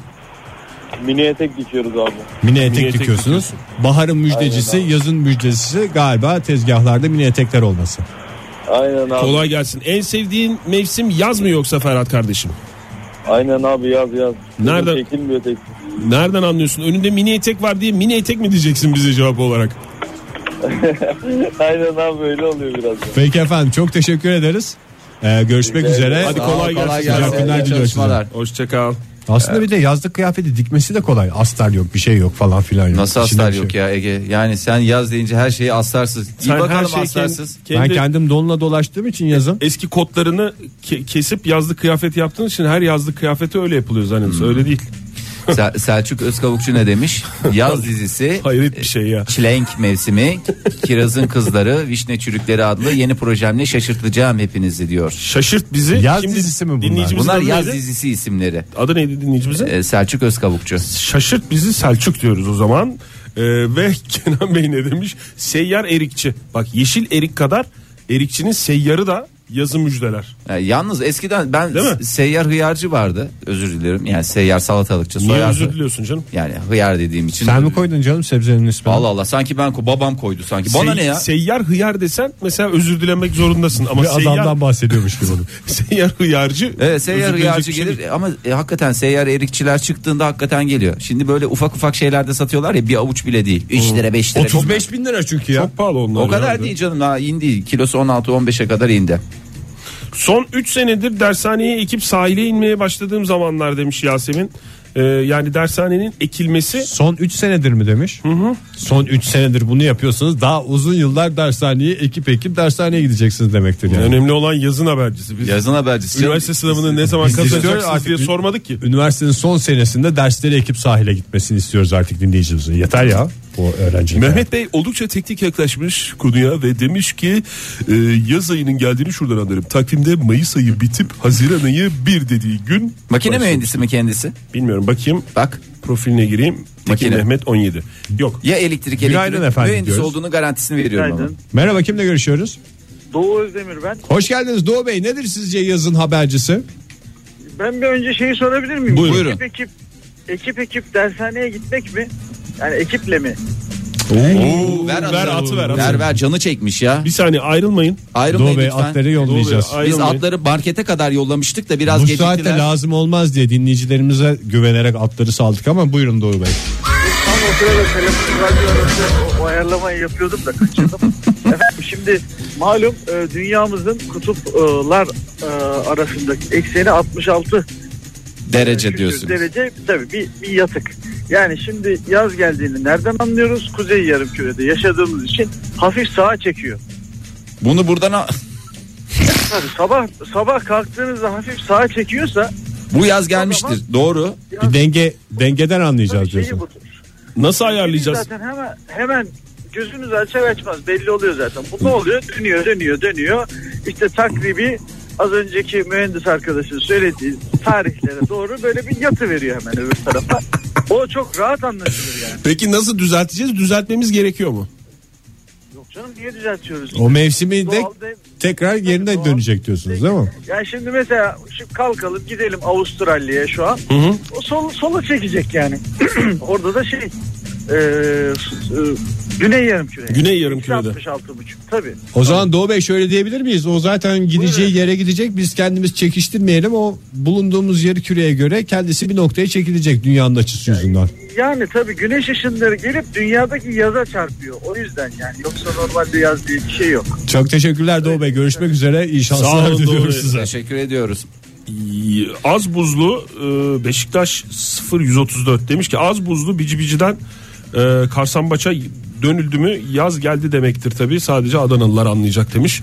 H: Mini etek geçiyoruz abi.
C: Mini etek
D: etek
C: dikiyorsunuz. Baharın müjdecisi,
H: Aynen abi.
C: yazın müjdecisi galiba tezgahlarda mini etekler olması.
H: Aynen abi.
D: Kolay gelsin. En sevdiğin mevsim yaz mı yoksa Ferhat kardeşim?
H: Aynen abi yaz yaz.
D: Nerede?
H: Benim Çekilmiyor tek.
D: Nereden anlıyorsun? Önünde mini etek var diye mini etek mi diyeceksin bize cevap olarak?
H: Aynen abi öyle oluyor biraz. da.
C: Peki efendim çok teşekkür ederiz. Ee, görüşmek
H: Rica ederim.
C: üzere.
D: Hadi
B: Sağ
D: kolay
B: ol,
D: gelsin.
C: Güzel günler
B: İyi
C: diliyoruz size.
B: çalışmalar.
D: Hoşçakal.
C: Aslında bir de yazlık kıyafeti dikmesi de kolay. Astar yok, bir şey yok falan filan yok.
B: Nasıl
C: İçinde
B: astar
C: bir şey
B: yok ya Ege? Yani sen yaz deyince her şeyi astarsız. İyi
D: Sen her
B: bakalım
D: şeyi
B: astarsız.
D: kendi-
C: Ben
D: kendi
C: kendim donla dolaştığım için yazın.
D: eski kotlarını ke- kesip yazlık kıyafet yaptığın için her yazlık kıyafeti öyle yapılıyor zannediyorsun.
C: Hmm.
D: Öyle değil.
B: Sel- Selçuk Özkavukçu ne demiş? Yaz dizisi
D: Hayret bir şey ya.
B: Çilenk mevsimi, Kiraz'ın kızları, Vişne Çürükleri adlı yeni projemle şaşırtacağım hepinizi diyor.
D: Şaşırt bizi.
C: Yaz dizisi mi bunlar?
D: dinleyicimizin
B: Bunlar
D: adı
B: yaz
D: neydi?
B: dizisi isimleri.
D: Adı neydi dinleyicimizin?
B: Ee, Selçuk Özkavukçu.
D: Şaşırt bizi Selçuk diyoruz o zaman. Ee, ve Kenan Bey ne demiş? Seyyar erikçi. Bak yeşil erik kadar erikçinin seyyarı da yazı müjdeler.
B: Yani Ee, yalnız eskiden ben
D: Değil mi?
B: s- seyyar hıyarcı vardı. Özür dilerim. Yani seyyar salatalıkçı
D: Niye
B: soyardı.
D: özür diliyorsun canım?
B: Yani hıyar dediğim için.
C: Sen mi koydun canım sebzenin ismini?
B: Allah Allah sanki ben ko- babam koydu sanki. Bana
D: Sey-
B: ne ya?
D: Seyyar hıyar desen mesela özür dilemek zorundasın ama
C: Bir
D: seyyar,
C: adamdan bahsediyormuş gibi.
D: seyyar hıyarcı.
B: Evet
D: özür
B: Ee, seyyar
D: dileyecek
B: hıyarcı
D: bir şey
B: gelir
D: değil.
B: ama e, hakikaten seyyar erikçiler çıktığında hakikaten geliyor. Şimdi böyle ufak ufak şeylerde satıyorlar ya bir avuç bile değil. 3 lira 5 lira. bilmem.
C: bin lira çünkü ya.
D: Çok pahalı onlar.
B: O kadar
D: ya.
B: değil canım daha indi. Kilosu 16-15'e kadar indi.
D: Son 3 senedir dershaneye ekip sahile inmeye başladığım zamanlar demiş Yasemin. Ee, yani dershanenin ekilmesi
C: Son 3 senedir mi demiş? Son 3 senedir bunu yapıyorsunuz. Daha uzun yıllar dershaneye ekip ekip dershaneye gideceksiniz demektir yani.
D: önemli olan yazın habercisi. Biz
B: Yazın habercisi. canım.
D: üniversite sınavını ne zaman
C: Biz istiyoruz
D: kazanacaksınız
C: artık.
D: diye sormadık ki.
C: Üniversitenin son senesinde dersleri ekip sahile gitmesini istiyoruz artık dinleyicimizin. Yeter ya bu öğrencilik.
D: Mehmet Bey oldukça teknik yaklaşmış konuya ve demiş ki e, yaz ayının geldiğini şuradan anlarım. Takvimde Mayıs ayı bitip Haziran ayı 1 dediği gün.
B: Makine
D: başlıyor.
B: mühendisi mi kendisi?
D: Bilmiyorum bakayım
B: Bak
D: profiline gireyim. Tekin
B: Makine.
D: Mehmet 17. Yok
B: ya elektrik
C: Günaydın
B: elektrik
C: efendim
B: mühendisi
C: diyoruz.
B: olduğunu garantisini veriyorum ama.
J: Günaydın.
C: Merhaba kimle görüşüyoruz?
J: Doğu Özdemir ben.
C: Hoş geldiniz Doğu Bey. Nedir sizce yazın habercisi?
J: Ben bir önce şeyi sorabilir miyim?
B: Buyurun.
J: Ekip ekip, ekip ekip dershaneye gitmek mi? Yani ekiple mi?
B: Ver, atı.
D: ver atı, ver atı.
B: Ver ver canı çekmiş ya.
D: bir saniye ayrılmayın.
B: Ayrılmayın
C: Doğu Bey
B: lütfen.
C: atları yollayacağız.
D: Doğu Bey,
B: Biz
D: ayrılmayın.
B: atları markete kadar yollamıştık da biraz
C: Bu saatte
B: geciktiler.
C: lazım olmaz diye dinleyicilerimize güvenerek atları saldık ama buyurun Doğu Bey.
J: Tam o sırada telefon radyo arası o, o ayarlamayı yapıyordum da kaçırdım. Efendim şimdi malum e, dünyamızın kutuplar e, arasındaki ekseni 66
B: Derece
J: küsür
B: diyorsunuz.
J: Derece tabii bir, bir yatık. Yani şimdi yaz geldiğini nereden anlıyoruz? Kuzey yarımkürede yaşadığımız için hafif sağa çekiyor.
B: Bunu buradan al-
J: Tabii sabah sabah kalktığınızda hafif sağa çekiyorsa
B: Bu yaz gelmiştir. Doğru.
C: Bir denge dengeden anlayacağız
J: şeyi
C: diyorsun.
J: budur.
D: Nasıl ayarlayacağız?
J: Zaten hemen hemen gözünüz açar açmaz belli oluyor zaten. Bu ne oluyor? Dönüyor, dönüyor, dönüyor. İşte takribi az önceki mühendis arkadaşın söylediği tarihlere doğru böyle bir yatı veriyor hemen öbür tarafa. O çok rahat anlaşılır yani.
D: Peki nasıl düzelteceğiz? Düzeltmemiz gerekiyor mu?
J: Yok canım niye düzeltiyoruz?
C: O mevsimi de
J: Doğal de-
C: tekrar yerine
J: doğal.
C: dönecek diyorsunuz değil mi?
J: Yani şimdi mesela şu kalkalım gidelim Avustralya'ya şu an. O sol, sola çekecek yani. Orada da şey e, s- e, güney yarım küre.
D: Güney yarımkürede.
J: 66 buçuk tabii.
C: O zaman Doğu Bey şöyle diyebilir miyiz? O zaten gideceği
J: Buyurun.
C: yere gidecek. Biz kendimiz çekiştirmeyelim. O bulunduğumuz yarı küreye göre kendisi bir noktaya çekilecek dünyanın açısı yüzünden.
J: Yani tabii güneş ışınları gelip dünyadaki yaza çarpıyor. O yüzden yani yoksa normalde yaz diye bir şey yok.
C: Çok teşekkürler Doğu Bey. Görüşmek üzere. İyi
D: Sağ
C: şanslar
D: olun Doğu Bey.
C: diliyoruz size.
B: Teşekkür ediyoruz.
D: İyi. Az buzlu e, Beşiktaş 0134 demiş ki az buzlu bici biciden e, Karsambaç'a dönüldü mü yaz geldi demektir tabii sadece Adanalılar anlayacak demiş.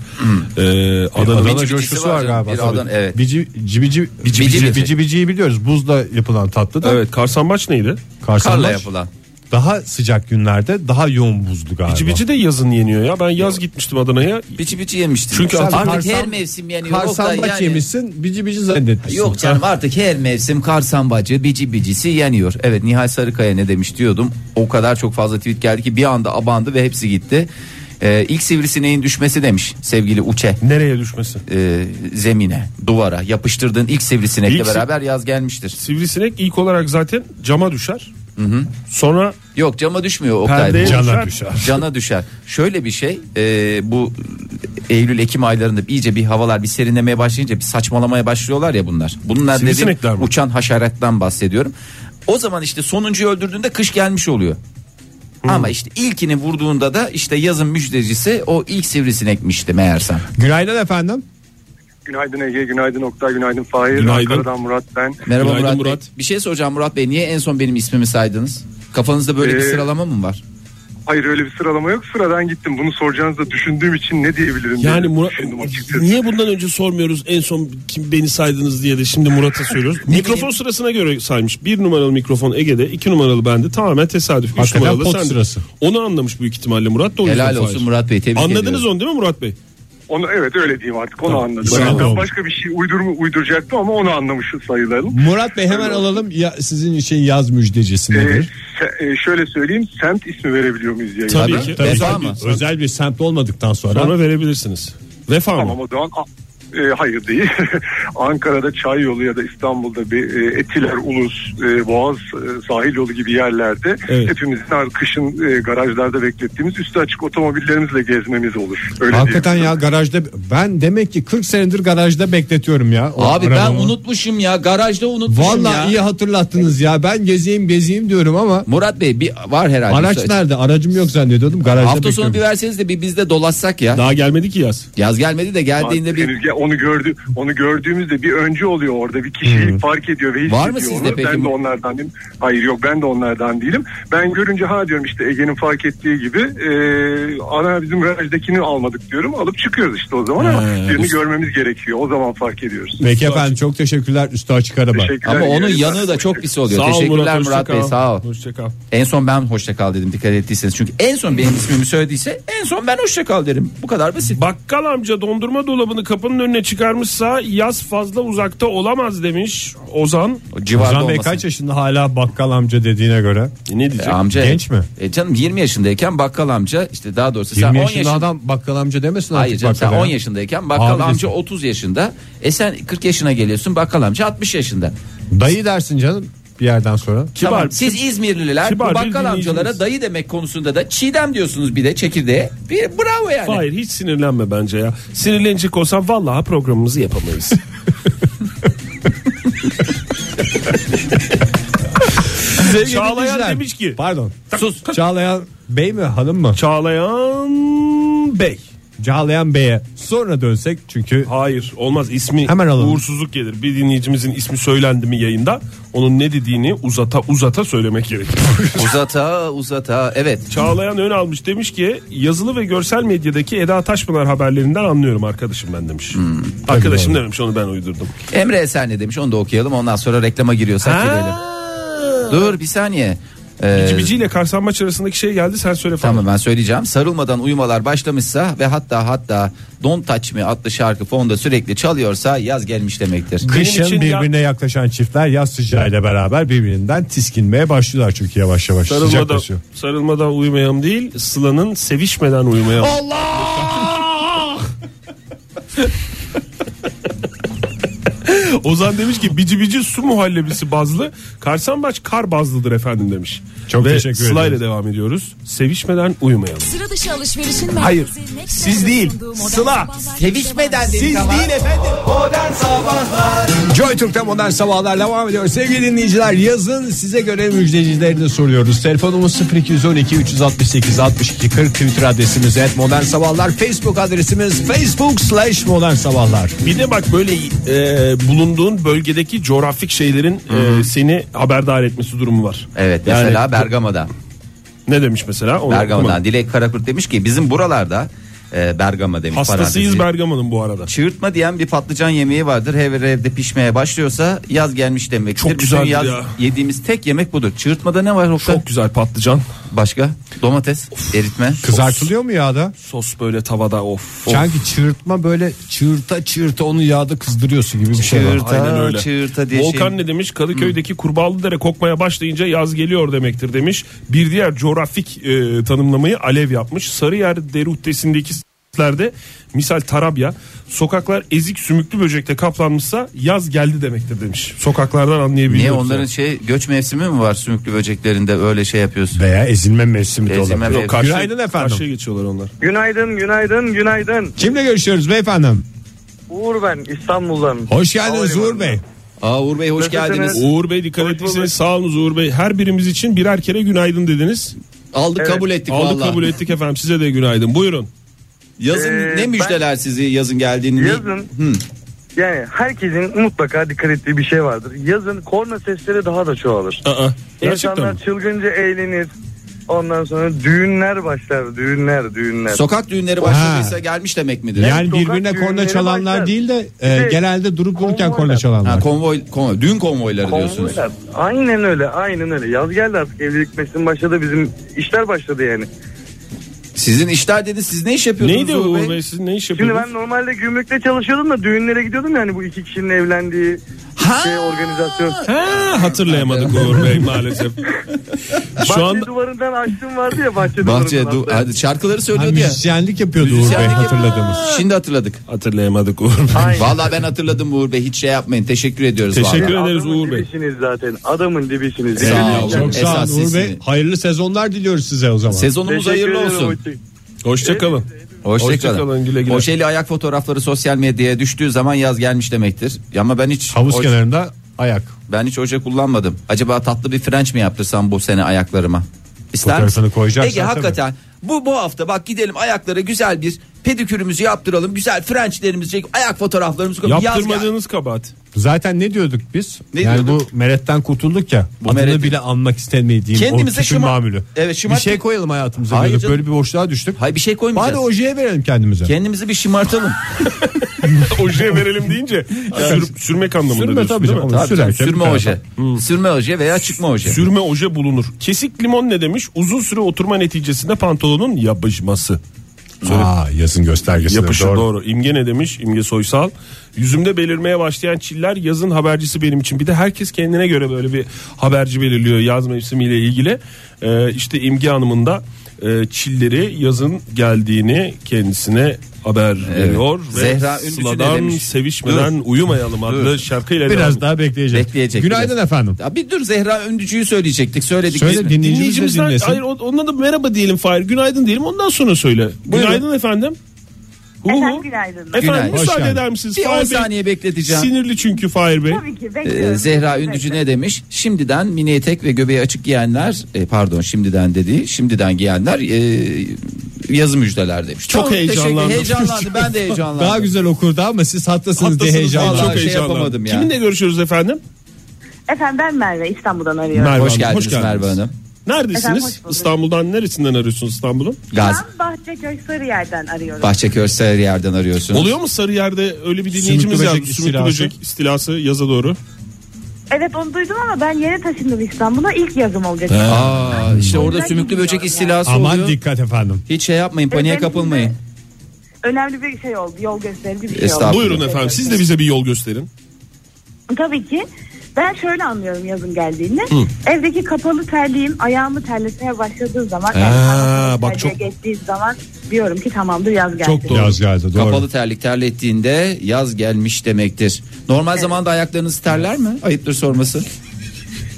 D: E, Adana,
C: Adana
B: Bici
C: coşkusu
B: bicisi
C: var
B: var canım.
C: galiba.
B: Bir
C: tabii.
B: Adana- evet.
C: Bici, bici, bici, bici,
B: bici.
C: bici biciyi biliyoruz. Buzla yapılan tatlı da.
D: Evet Karsambaç neydi?
C: Karsanlar
B: Karla yapılan.
C: daha sıcak günlerde daha yoğun buzlu galiba.
D: Bici bici de yazın yeniyor ya ben yaz gitmiştim Adana'ya.
B: Biçi bici yemiştim.
D: Çünkü
B: artık,
C: artık
B: her
C: karsan-
B: mevsim yeniyor.
C: Karsambaç
B: Oktay, yani-
C: yemişsin bici bici zannetmişsin.
B: Yok canım artık her mevsim karsambacı bici bicisi yeniyor. Evet Nihal Sarıkaya ne demiş diyordum. O kadar çok fazla tweet geldi ki bir anda abandı ve hepsi gitti. Ee, ilk sivrisineğin düşmesi demiş sevgili Uçe
D: Nereye düşmesi?
B: Ee, zemine duvara yapıştırdığın ilk sivrisinekle
D: İlk si-
B: beraber yaz gelmiştir.
D: Sivrisinek ilk olarak zaten cama düşer. Sonra
B: Yok cama düşmüyor
D: perdeye
B: Oktay.
D: düşer.
C: Cana düşer.
B: Cana düşer. Şöyle bir şey e, bu Eylül Ekim aylarında iyice bir havalar bir serinlemeye başlayınca bir saçmalamaya başlıyorlar ya bunlar. Bunlar dediğim
D: Sivrisinekler mi?
B: uçan haşerattan bahsediyorum. O zaman işte sonuncuyu öldürdüğünde kış gelmiş oluyor.
D: Hmm.
B: Ama işte ilkini vurduğunda da işte yazın müjdecisi o ilk sivrisinekmişti meğersem.
C: Günaydın efendim.
I: Günaydın Ege, günaydın Oktay, günaydın Fahir.
D: Günaydın.
I: Ankara'dan Murat ben.
B: Merhaba
D: Günaydın
B: Murat, Bey.
D: Murat.
B: Bir şey soracağım Murat Bey niye en son benim ismimi saydınız? Kafanızda böyle bir
I: Ee,
B: sıralama mı var?
I: Hayır öyle bir sıralama yok. Sıradan gittim. Bunu soracağınızı da düşündüğüm için ne diyebilirim diye
D: Yani Murat
I: düşündüm açıkçası.
D: niye bundan önce sormuyoruz en son kim beni saydınız diye de şimdi Murat'a söylüyoruz. mikrofon
B: bileyim.
D: sırasına göre saymış. Bir numaralı mikrofon Ege'de, iki numaralı bende tamamen tesadüf. Üç
C: Hakikaten
D: numaralı
C: pot
D: sende.
C: sırası.
D: Onu anlamış büyük ihtimalle Murat da o yüzden
B: Helal
D: faal.
B: olsun Murat Bey tebrik
D: Anladınız
B: ediyorum.
D: onu değil mi Murat Bey?
I: Onu, evet öyle diyeyim artık. Onu
D: Tamam.
I: anladım.
D: Bravo.
I: Yani ben
D: Bravo.
I: başka bir şey uydurma, uyduracaktım ama onu anlamış sayılalım.
C: Murat Bey hemen alalım ya, sizin için yaz müjdecisi
I: Ee,
C: nedir?
I: se- e, şöyle söyleyeyim. Semt ismi verebiliyor muyuz? Yayına?
D: Tabii
B: Tabii.
D: ki.
C: E,
B: Tabii.
D: Vefa
B: Vefa
D: mı?
B: mı?
C: Özel bir semt olmadıktan sonra.
D: Sonra verebilirsiniz. Vefa
I: Tamam
D: mı?
I: o zaman a- e, hayır değil. Ankara'da Çayyolu ya da İstanbul'da bir e, Etiler, Ulus, e, Boğaz, e, Sahil Yolu gibi yerlerde
D: Evet.
I: hepimizin ar- kışın e, garajlarda beklettiğimiz üstü açık otomobillerimizle gezmemiz olur. Öyle
C: Hakikaten
I: diyeyim.
C: ya garajda ben demek ki 40 senedir garajda bekletiyorum ya. o
B: Abi ben
C: arabamı.
B: unutmuşum ya garajda unutmuşum
C: Vallahi
B: ya.
C: iyi hatırlattınız ya. Ben gezeyim gezeyim diyorum ama
B: Murat Bey bir var herhalde.
C: araç nerede? Aracım yok zannediyordum. Garajda
B: Hafta sonu
C: bekliyorum.
B: bir verseniz de bir bizde dolaşsak ya.
D: Daha gelmedi ki yaz.
B: Yaz gelmedi de geldiğinde bir
I: Henüz ya- onu gördü onu gördüğümüzde bir öncü oluyor orada bir kişiyi fark ediyor ve hissediyor
B: Hmm. Var mı sizde
I: onu.
B: peki
I: ben de
B: bu-
I: onlardan değilim hayır yok ben de onlardan değilim ben görünce ha diyorum işte Ege'nin fark ettiği gibi e, ana bizim garajdakini almadık diyorum alıp çıkıyoruz işte o zaman ama
D: He,
I: birini
D: us-
I: görmemiz gerekiyor o zaman fark ediyoruz
C: Peki efendim çok teşekkürler. Üstü açık araba.
I: Teşekkürler.
B: ama onun
I: İyi
B: yanığı da
I: yayınlar.
B: çok pis oluyor.
D: Sağ ol
B: Teşekkürler
D: Murat,
B: Murat,
D: hoşça
B: Bey
D: kal.
B: sağ ol.
D: Hoşça kal.
B: En son ben hoşça kal dedim dikkat ettiyseniz. Çünkü en son benim ismimi söylediyse en son ben hoşça kal derim. Bu kadar basit.
D: Bakkal amca dondurma dolabını kapının önüne çıkarmışsa yaz fazla uzakta olamaz demiş Ozan.
B: Civarda
C: Ozan Bey
B: olmasın.
C: kaç yaşında hala bakkal amca dediğine göre?
D: E ne diyecek?
B: E, amca.
C: Genç mi?
B: E, canım 20 yaşındayken bakkal amca işte daha doğrusu
C: 20
B: sen 10
C: yaşında
B: yaşında
C: adam bakkal amca demesin
B: Hayır
C: artık
B: canım sen
C: bakkala
B: 10
C: ya.
B: yaşındayken bakkal
C: Abi
B: amca
C: desin.
B: 30 yaşında. E sen 40 yaşına geliyorsun bakkal amca 60 yaşında.
C: Dayı dersin canım bir yerden sonra.
D: Kibar.
B: Tamam, siz İzmirliler
D: Kibar
B: bu
D: bir
B: bakkal
D: dinleyicimiz.
B: amcalara dayı demek konusunda da çiğdem diyorsunuz bir de çekirdeğe. Bir, bravo yani.
D: Hayır hiç sinirlenme bence ya. Sinirlenecek olsam vallahi programımızı yapamayız.
C: Sevgili
D: Çağlayan
C: dinleyiciler.
D: demiş ki-
C: Pardon.
B: Sus.
C: Çağlayan bey mi hanım mı?
D: Çağlayan Bey.
C: Çağlayan Bey'e sonra dönsek çünkü
D: Hayır olmaz ismi
C: Hemen alalım.
D: uğursuzluk gelir. Bir dinleyicimizin ismi söylendi mi yayında onun ne dediğini uzata uzata söylemek gerekir.
B: Uzata uzata evet.
D: Çağlayan ön almış demiş ki yazılı ve görsel medyadaki Eda Taşpınar haberlerinden anlıyorum arkadaşım ben demiş.
C: Hmm,
D: arkadaşım dememiş onu ben uydurdum.
B: Emre Esen ne demiş onu da okuyalım ondan sonra reklama giriyorsak girelim. Dur bir saniye. Ee,
D: Cibici ile Karsan maç arasındaki şey geldi sen söyle falan.
B: Tamam ben söyleyeceğim. Sarılmadan uyumalar başlamışsa ve hatta hatta Don't Touch Me adlı şarkı fonda sürekli çalıyorsa yaz gelmiş demektir.
C: kışın
D: için
C: birbirine yaklaşan çiftler yaz sıcağıyla beraber birbirinden tiskinmeye başlıyorlar çünkü yavaş yavaş
D: Sarılmadan,
C: sıcaklaşıyor.
D: sarılmadan uyumayalım değil Sıla'nın sevişmeden uyumayalım. Allah! Ozan demiş ki bici bici su muhallebisi bazlı Karsanbaş kar bazlıdır efendim demiş.
C: Çok
D: Ve
C: teşekkür
D: Sıla
C: ederiz.
D: ile devam ediyoruz. Sevişmeden uyumayalım.
E: Sıra dışı alışverişin merkezi.
D: Hayır,
E: Next
D: siz
E: Level'ın
D: değil,
E: sunduğu modern
D: Sıla.
E: sabahlar
B: Sevişmeden
E: devam
B: dedik ama.
C: Joy Türk'te modern sabahlar devam ediyor. Sevgili dinleyiciler yazın size göre müjdecilerini soruyoruz. Telefonumuz 0212 368 62 40 Twitter adresimiz et modern sabahlar. Facebook adresimiz facebook slash modern sabahlar.
D: Bir de bak böyle e, bulunduğun bölgedeki coğrafik şeylerin e, seni haberdar etmesi durumu var.
B: Evet
D: Yani-
B: mesela Bergama'da.
D: Ne demiş mesela? Onu
B: Bergama'dan
D: okumadım.
B: Dilek Karakurt demiş ki bizim buralarda e, Bergama demiş.
D: Hastasıyız
B: parantezi.
D: Bergama'nın bu arada.
B: Çığırtma diyen bir patlıcan yemeği vardır. Her evde pişmeye başlıyorsa yaz gelmiş demektir.
D: Çok
B: Bütün
D: güzeldir
B: yaz
D: ya.
B: yediğimiz tek yemek budur. Çığırtmada ne var Oktay?
D: Çok güzel patlıcan.
B: Başka? Domates, eritme.
C: Kızartılıyor mu yağda?
D: Sos böyle tavada of. of.
C: Sanki çığırtma böyle çığırta çığırta onu yağda kızdırıyorsun gibi bir şey var.
B: Çığırta, çığırta diye
D: Volkan
B: şey.
D: ne demiş? Kadıköy'deki Kurbalıdere kokmaya başlayınca yaz geliyor demektir demiş. Bir diğer coğrafik e, tanımlamayı Alev yapmış. Sarıyer Deruhtesi'ndeki s**lerde misal Tarabya sokaklar ezik sümüklü böcekle kaplanmışsa yaz geldi demektir demiş. Sokaklardan anlayabiliyoruz.
B: Niye onların şey göç mevsimi mi var sümüklü böceklerinde öyle şey yapıyorsun?
C: Veya ezilme mevsimi de
B: Ezilme
C: olabilir.
B: mevsimi.
C: Karşı- Günaydın efendim.
D: Karşıya geçiyorlar onlar.
J: Günaydın, günaydın, günaydın.
C: Kimle görüşüyoruz beyefendim?
J: Uğur ben İstanbul'dan.
C: Hoş geldiniz
J: Havalimanı.
C: Uğur Bey.
B: Aa Uğur Bey hoş
J: Nasılsınız?
B: geldiniz.
D: Uğur Bey dikkat ettiyseniz sağ olunuz Uğur Bey. Her birimiz için birer kere günaydın dediniz.
B: Aldık kabul ettik
D: Aldık
B: vallahi.
D: kabul ettik efendim size de günaydın. Buyurun.
B: Yazın
J: Ee,
B: ne
J: ben-
B: müjdeler sizi yazın geldiğini?
J: Yazın yani herkesin mutlaka dikkat ettiği bir şey vardır. Yazın korna sesleri daha da çoğalır.
D: Aa, gerçekten
J: İnsanlar
D: mi?
J: çılgınca eğlenir. Ondan sonra düğünler başlar. Düğünler, düğünler.
B: Sokak düğünleri başladıysa gelmiş demek midir?
C: Yani
J: sokak
C: birbirine korna
J: düğünleri
C: çalanlar
J: başlar.
C: değil de
J: Bir
C: e,
J: de
C: genelde durup dururken korna
J: konvoylar.
C: çalanlar.
B: Ha, konvoy, konvoy, düğün konvoyları diyorsunuz.
J: Konvoylar. Aynen öyle, aynen öyle. Yaz geldi artık evlilik mesleğim başladı. Bizim işler başladı yani.
B: Sizin işler dedi siz ne iş yapıyordunuz
D: Neydi Uğur Bey siz ne iş
J: Şimdi
D: yapıyordunuz?
J: ben normalde gümrükte çalışıyordum da düğünlere gidiyordum yani bu iki kişinin evlendiği şey organizasyon.
D: Ha, hatırlayamadık Uğur Bey maalesef. Şu
J: bahçe
D: anda
J: duvarından açtım vardı ya bahçe,
B: Bahçe,
J: duvarından.
B: du- hadi şarkıları
C: Ha,
B: söylüyordu ya.
C: müzisyenlik yapıyordu Uğur Bey
B: Müzisyenlik yapıyor.
C: hatırladığımız.
B: Şimdi hatırladık.
D: hatırlayamadık Uğur Bey.
J: Aynen.
B: Vallahi ben hatırladım Uğur Bey. Hiç şey yapmayın. Teşekkür ediyoruz.
D: Teşekkür
B: vallahi.
D: ederim. ederiz
J: Adamın
D: Uğur Bey.
J: dibisiniz zaten. Adamın dibisiniz.
B: Sağ
J: Yani
B: olun.
J: yani-
C: Çok sağ olun
B: Esas
C: Uğur Bey.
B: sesini.
C: Hayırlı sezonlar diliyoruz size o zaman.
B: Sezonumuz
J: Teşekkür
B: hayırlı
J: ederim
B: olsun.
J: Uğurcuğum.
D: Hoşçakalın.
B: Hoşçakalın.
D: Hoşçakalın,
B: Hoşçakalın
D: güle güle.
B: Hoşeli ayak fotoğrafları sosyal medyaya düştüğü zaman yaz gelmiş demektir. Ama ben hiç
C: Havuz
B: hoş-
C: kenarında ayak.
B: ben hiç hoca kullanmadım. Acaba tatlı bir French mi yaptırsam bu sene ayaklarıma? İster
C: Fotoğrafını koyacaksan
B: Ege hakikaten bu bu hafta bak gidelim ayaklara güzel bir pedikürümüzü yaptıralım. Güzel Frenchlerimizi çekip ayak fotoğraflarımızı koyalım. Yaz gel-
D: Yaptırmadığınız kabahat.
C: Zaten ne diyorduk biz?
B: Ne
C: yani
B: diyorduk?
C: bu meretten kurtulduk ya. adını
B: mereti-
C: bile anmak istemediğim
B: Kendimize
C: o kişinin
B: şıma-
C: mamülü.
B: Evet,
C: bir
B: şımart-
C: şey koyalım hayatımıza
B: Hayır
C: diyorduk.
B: canım.
C: Böyle bir boşluğa düştük.
B: Hayır bir şey
C: Bari
B: koymayacağız.
C: ojeye verelim kendimize.
B: Kendimizi bir şımartalım.
D: Oje verelim deyince sür- sürmek anlamında
C: Sürme
D: diyorsun
C: tabii
D: değil mi?
C: canım.
B: Tabii canım,
C: Sürerken
B: sürme
C: bir
B: oje. Sürme oje veya çıkma oje.
D: Sürme oje bulunur. Kesik limon ne demiş? Uzun süre oturma neticesinde pantolonun yapışması.
C: Aa, yazın göstergesi.
D: Yapışı doğru.
C: doğru.
D: İmge ne demiş? İmge Soysal. Yüzümde belirmeye başlayan çiller yazın habercisi benim için. Bir de herkes kendine göre böyle bir haberci belirliyor yaz mevsimiyle ilgili. Ee, işte İmge Hanım'ın da e, çilleri yazın geldiğini kendisine haber veriyor. Ve
B: Zehra Ünlüsü ne
D: Sıla'dan
B: demiş?
D: sevişmeden uyumayalım adlı şarkıyla
C: Biraz
D: devam.
C: daha bekleyeceğiz.
B: Bekleyecek
C: Günaydın
B: biraz.
C: efendim.
B: Ya bir dur Zehra Öndücü'yü söyleyecektik. Söyledik.
C: Söyle,
B: biz mi?
C: dinleyicimiz de
D: Dinleyicimizden
C: dinlesin.
D: hayır o- onunla da merhaba diyelim Fahir. Günaydın diyelim ondan sonra söyle. Günaydın efendim. Hu hu.
K: Efendim günaydınlar.
D: Efendim
B: Günaydın.
C: Hoş
D: müsaade
C: geldin.
D: eder misiniz?
B: Bir
D: Fahir
B: 10
D: Bey?
B: saniye bekleteceğim.
D: Sinirli çünkü Fahir Bey.
K: Tabii ki
B: Ee,
K: bekliyorum.
B: Zehra Ündücü ne demiş? Şimdiden mini etek ve göbeği açık giyenler, e, pardon şimdiden dediği, şimdiden giyenler e, yazı müjdeler demiş.
D: Çok
B: teşekkür-
D: heyecanlandım.
B: Heyecanlandı ben de heyecanlandım.
C: Daha güzel okurdu ama siz hattasınız, diye
D: Haklısınız,
C: heyecanlandım.
B: Vallahi
D: çok
B: şey
D: heyecanlandım.
B: yapamadım ya.
D: Kiminle görüşüyoruz efendim?
K: Efendim ben Merve İstanbul'dan arıyorum.
D: Merve
B: Hoş
D: Hanım,
B: geldiniz Merve Hanım.
K: Efendim,
D: Neredesiniz?
K: hoş bulduk.
D: İstanbul'dan neresinden arıyorsunuz İstanbul'un?
B: Gaz
K: Ben Bahçeköy Sarıyer'den arıyorum.
B: Bahçeköy Sarıyer'den arıyorsunuz.
D: Oluyor mu Sarıyer'de öyle bir
C: Sümüklü
D: dinleyicimiz
C: böcek
D: yazdı. Sümüklü
C: istilası.
D: böcek istilası yaza doğru.
K: evet onu duydum ama ben yeni taşındım İstanbul'a ilk yazım olacak.
B: Aa, işte orada
K: Güzel
B: sümüklü
K: gidiyor
B: böcek
K: yani.
B: istilası
C: Aman
B: oluyor.
C: dikkat efendim.
B: Hiç şey yapmayın paniğe
K: Efendim,
B: kapılmayın.
K: Önemli bir şey oldu. Yol gösterici bir şey
B: Estağfurullah.
K: oldu.
D: Buyurun efendim siz de bize bir yol gösterin.
K: Tabii ki. Ben şöyle anlıyorum yazın geldiğini. Evdeki kapalı terliğim ayağımı terletmeye başladığı zaman yani kapalı
D: bak
K: terliğe geçtiği zaman diyorum ki tamamdır yaz geldi.
C: Çok doğru. Yaz geldi doğru.
B: Kapalı terlik terlettiğinde yaz gelmiş demektir. Normal zamanda ayaklarınız terler mi? Ayıptır sorması.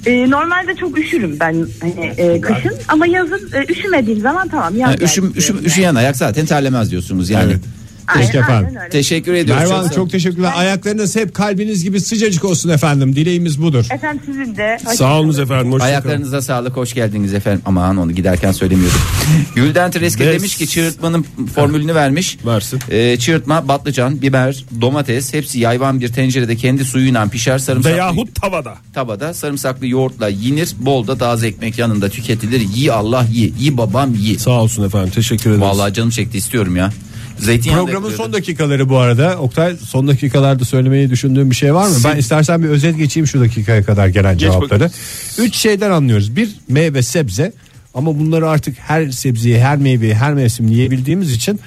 K: Ee, normalde çok üşürüm ben hani, e, kışın ama yazın e, üşümediğim zaman tamam yaz
B: Yani
K: geldi
B: üşüm,
K: diyorum
B: üşüm,
K: yani.
B: üşüyen ayak zaten terlemez diyorsunuz yani.
C: Evet.
K: Aynen,
C: Peki
K: aynen
C: efendim.
K: öyle.
B: Teşekkür ediyoruz.
C: Merve Hanım
B: Çok-
C: çok teşekkürler. Ayaklarınız hep kalbiniz gibi sıcacık olsun efendim. Dileğimiz budur.
K: Efendim sizin de. Hoşça
D: Sağ olunuz
K: kalın.
D: efendim. hoşça kalın.
B: Ayaklarınıza sağlık hoş geldiniz efendim. Aman onu giderken söylemiyordum. Gülden Treske
D: Des-
B: demiş ki çığırtmanın formülünü vermiş.
D: Versin.
B: Ee, çığırtma, batlıcan, biber, domates hepsi yayvan bir tencerede kendi suyuyla pişer sarımsaklı
D: Veyahut tavada.
B: tabada sarımsaklı yoğurtla yenir. Bol da taze ekmek yanında tüketilir. Yi Allah yi, yi babam yi.
D: Sağ olsun efendim teşekkür ederiz.
B: Vallahi canım çekti istiyorum ya. Zeytinyağı da
C: Programın
B: ekliyordum.
C: son dakikaları bu arada. Oktay son dakikalarda söylemeyi düşündüğün bir şey var mı? Ben istersen bir özet geçeyim şu dakikaya kadar gelen cevapları. Üç şeyden anlıyoruz. Bir meyve sebze ama bunları artık her sebzeyi her meyveyi her mevsim yiyebildiğimiz için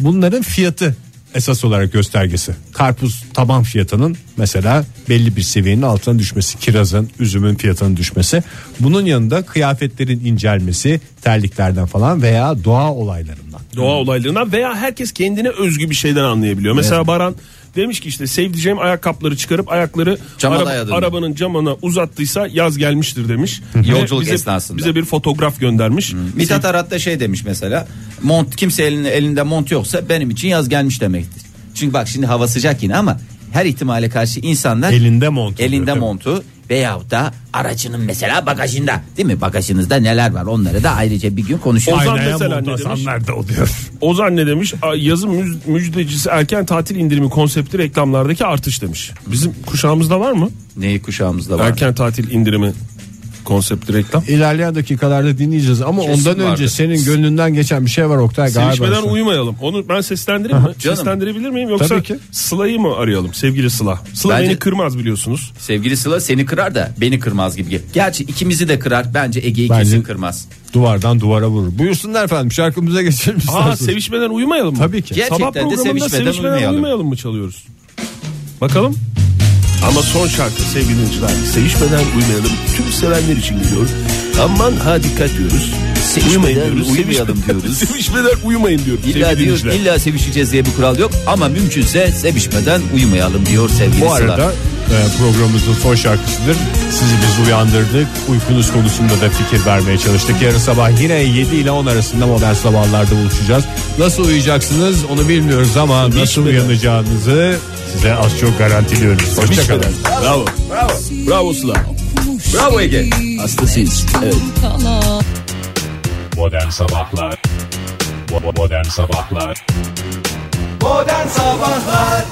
C: bunların fiyatı esas olarak göstergesi. Karpuz taban fiyatının mesela belli bir seviyenin altına düşmesi, kirazın, üzümün fiyatının düşmesi. Bunun yanında kıyafetlerin incelmesi, terliklerden falan veya doğa olaylarından.
B: Hmm.
D: Doğa olaylarından veya herkes kendine özgü bir şeyden anlayabiliyor. Mesela Baran demiş ki işte sevdiceğim ayakkabıları çıkarıp ayakları
B: Cama
D: araba-
B: dayadığında.
D: arabanın camına uzattıysa yaz gelmiştir demiş. Ve
B: Yolculuk
D: bize,
B: esnasında.
D: Bize bir fotoğraf göndermiş.
B: Mithat Arat da şey demiş mesela. Mont kimse elinde, elinde mont yoksa benim için yaz gelmiş demektir. Çünkü bak şimdi hava sıcak yine ama her ihtimale karşı insanlar
C: Elinde mont. oluyor,
B: elinde
C: değil mi?
B: montu veyahut da aracının mesela bagajında değil mi? Bagajınızda neler var onları da ayrıca bir gün konuşuruz.
D: Ozan
C: Aynaya
D: mesela ne demiş?
C: montu asanlar da oluyor.
D: Ozan ne demiş? A- Yazın müj- müjdecisi erken tatil indirimi konsepti reklamlardaki artış demiş. Bizim kuşağımızda var mı?
B: Neyi kuşağımızda var?
D: Erken tatil indirimi konsepti reklam.
C: İlerleyen dakikalarda dinleyeceğiz ama
B: Kesin
C: ondan önce
B: vardır.
C: senin gönlünden geçen bir şey var Oktay galiba.
D: Sevişmeden uyumayalım. Onu ben seslendireyim mi?
B: Canım.
D: Seslendirebilir miyim yoksa
C: Tabii ki.
D: Sıla'yı mı arayalım sevgili Sıla? Sıla
B: Bence-
D: beni kırmaz biliyorsunuz.
B: Sevgili Sıla seni kırar da beni kırmaz gibi. gel- Gerçi ikimizi de kırar. Bence Ege'yi
C: Bence-
B: kesin kırmaz.
C: Duvardan duvara vurur. Buyursunlar efendim şarkımıza geçelim
D: Aa
C: isterseniz.
D: sevişmeden uyumayalım mı?
C: Tabii ki.
B: Gerçekten
D: Sabah
B: de
D: programında
B: sevişmeden
D: sevişmeden,
B: uyumayalım.
D: uyumayalım. mı çalıyoruz? Bakalım. Ama son şarkı sevgili dinleyiciler. Sevişmeden uyumayalım. Tüm sevenler için geliyor. Aman ha dikkat diyoruz.
B: Sevişmeden uyumayalım
D: Sevişmeden-
B: diyoruz.
D: sevişmeden uyumayın diyoruz.
B: İlla
D: sevgili
B: diyor
D: dinleyiciler.
B: illa sevişeceğiz diye bir kural yok ama mümkünse sevişmeden uyumayalım diyor sevgili
C: Bu
B: Sıla.
C: arada e, programımızın son şarkısıdır. Sizi biz uyandırdık. Uykunuz konusunda da fikir vermeye çalıştık. Yarın sabah yine 7 ile 10 arasında modern sabahlarda buluşacağız. Nasıl uyuyacaksınız onu bilmiyoruz ama nasıl uyanacağınızı size az çok garantiliyoruz. Hoşçakalın.
D: Bravo. Bravo. Bravo Sıla. Bravo Ege. Hastasıyız. Evet.
A: Modern Sabahlar Bo- bo- Modern Sabahlar
F: Modern Sabahlar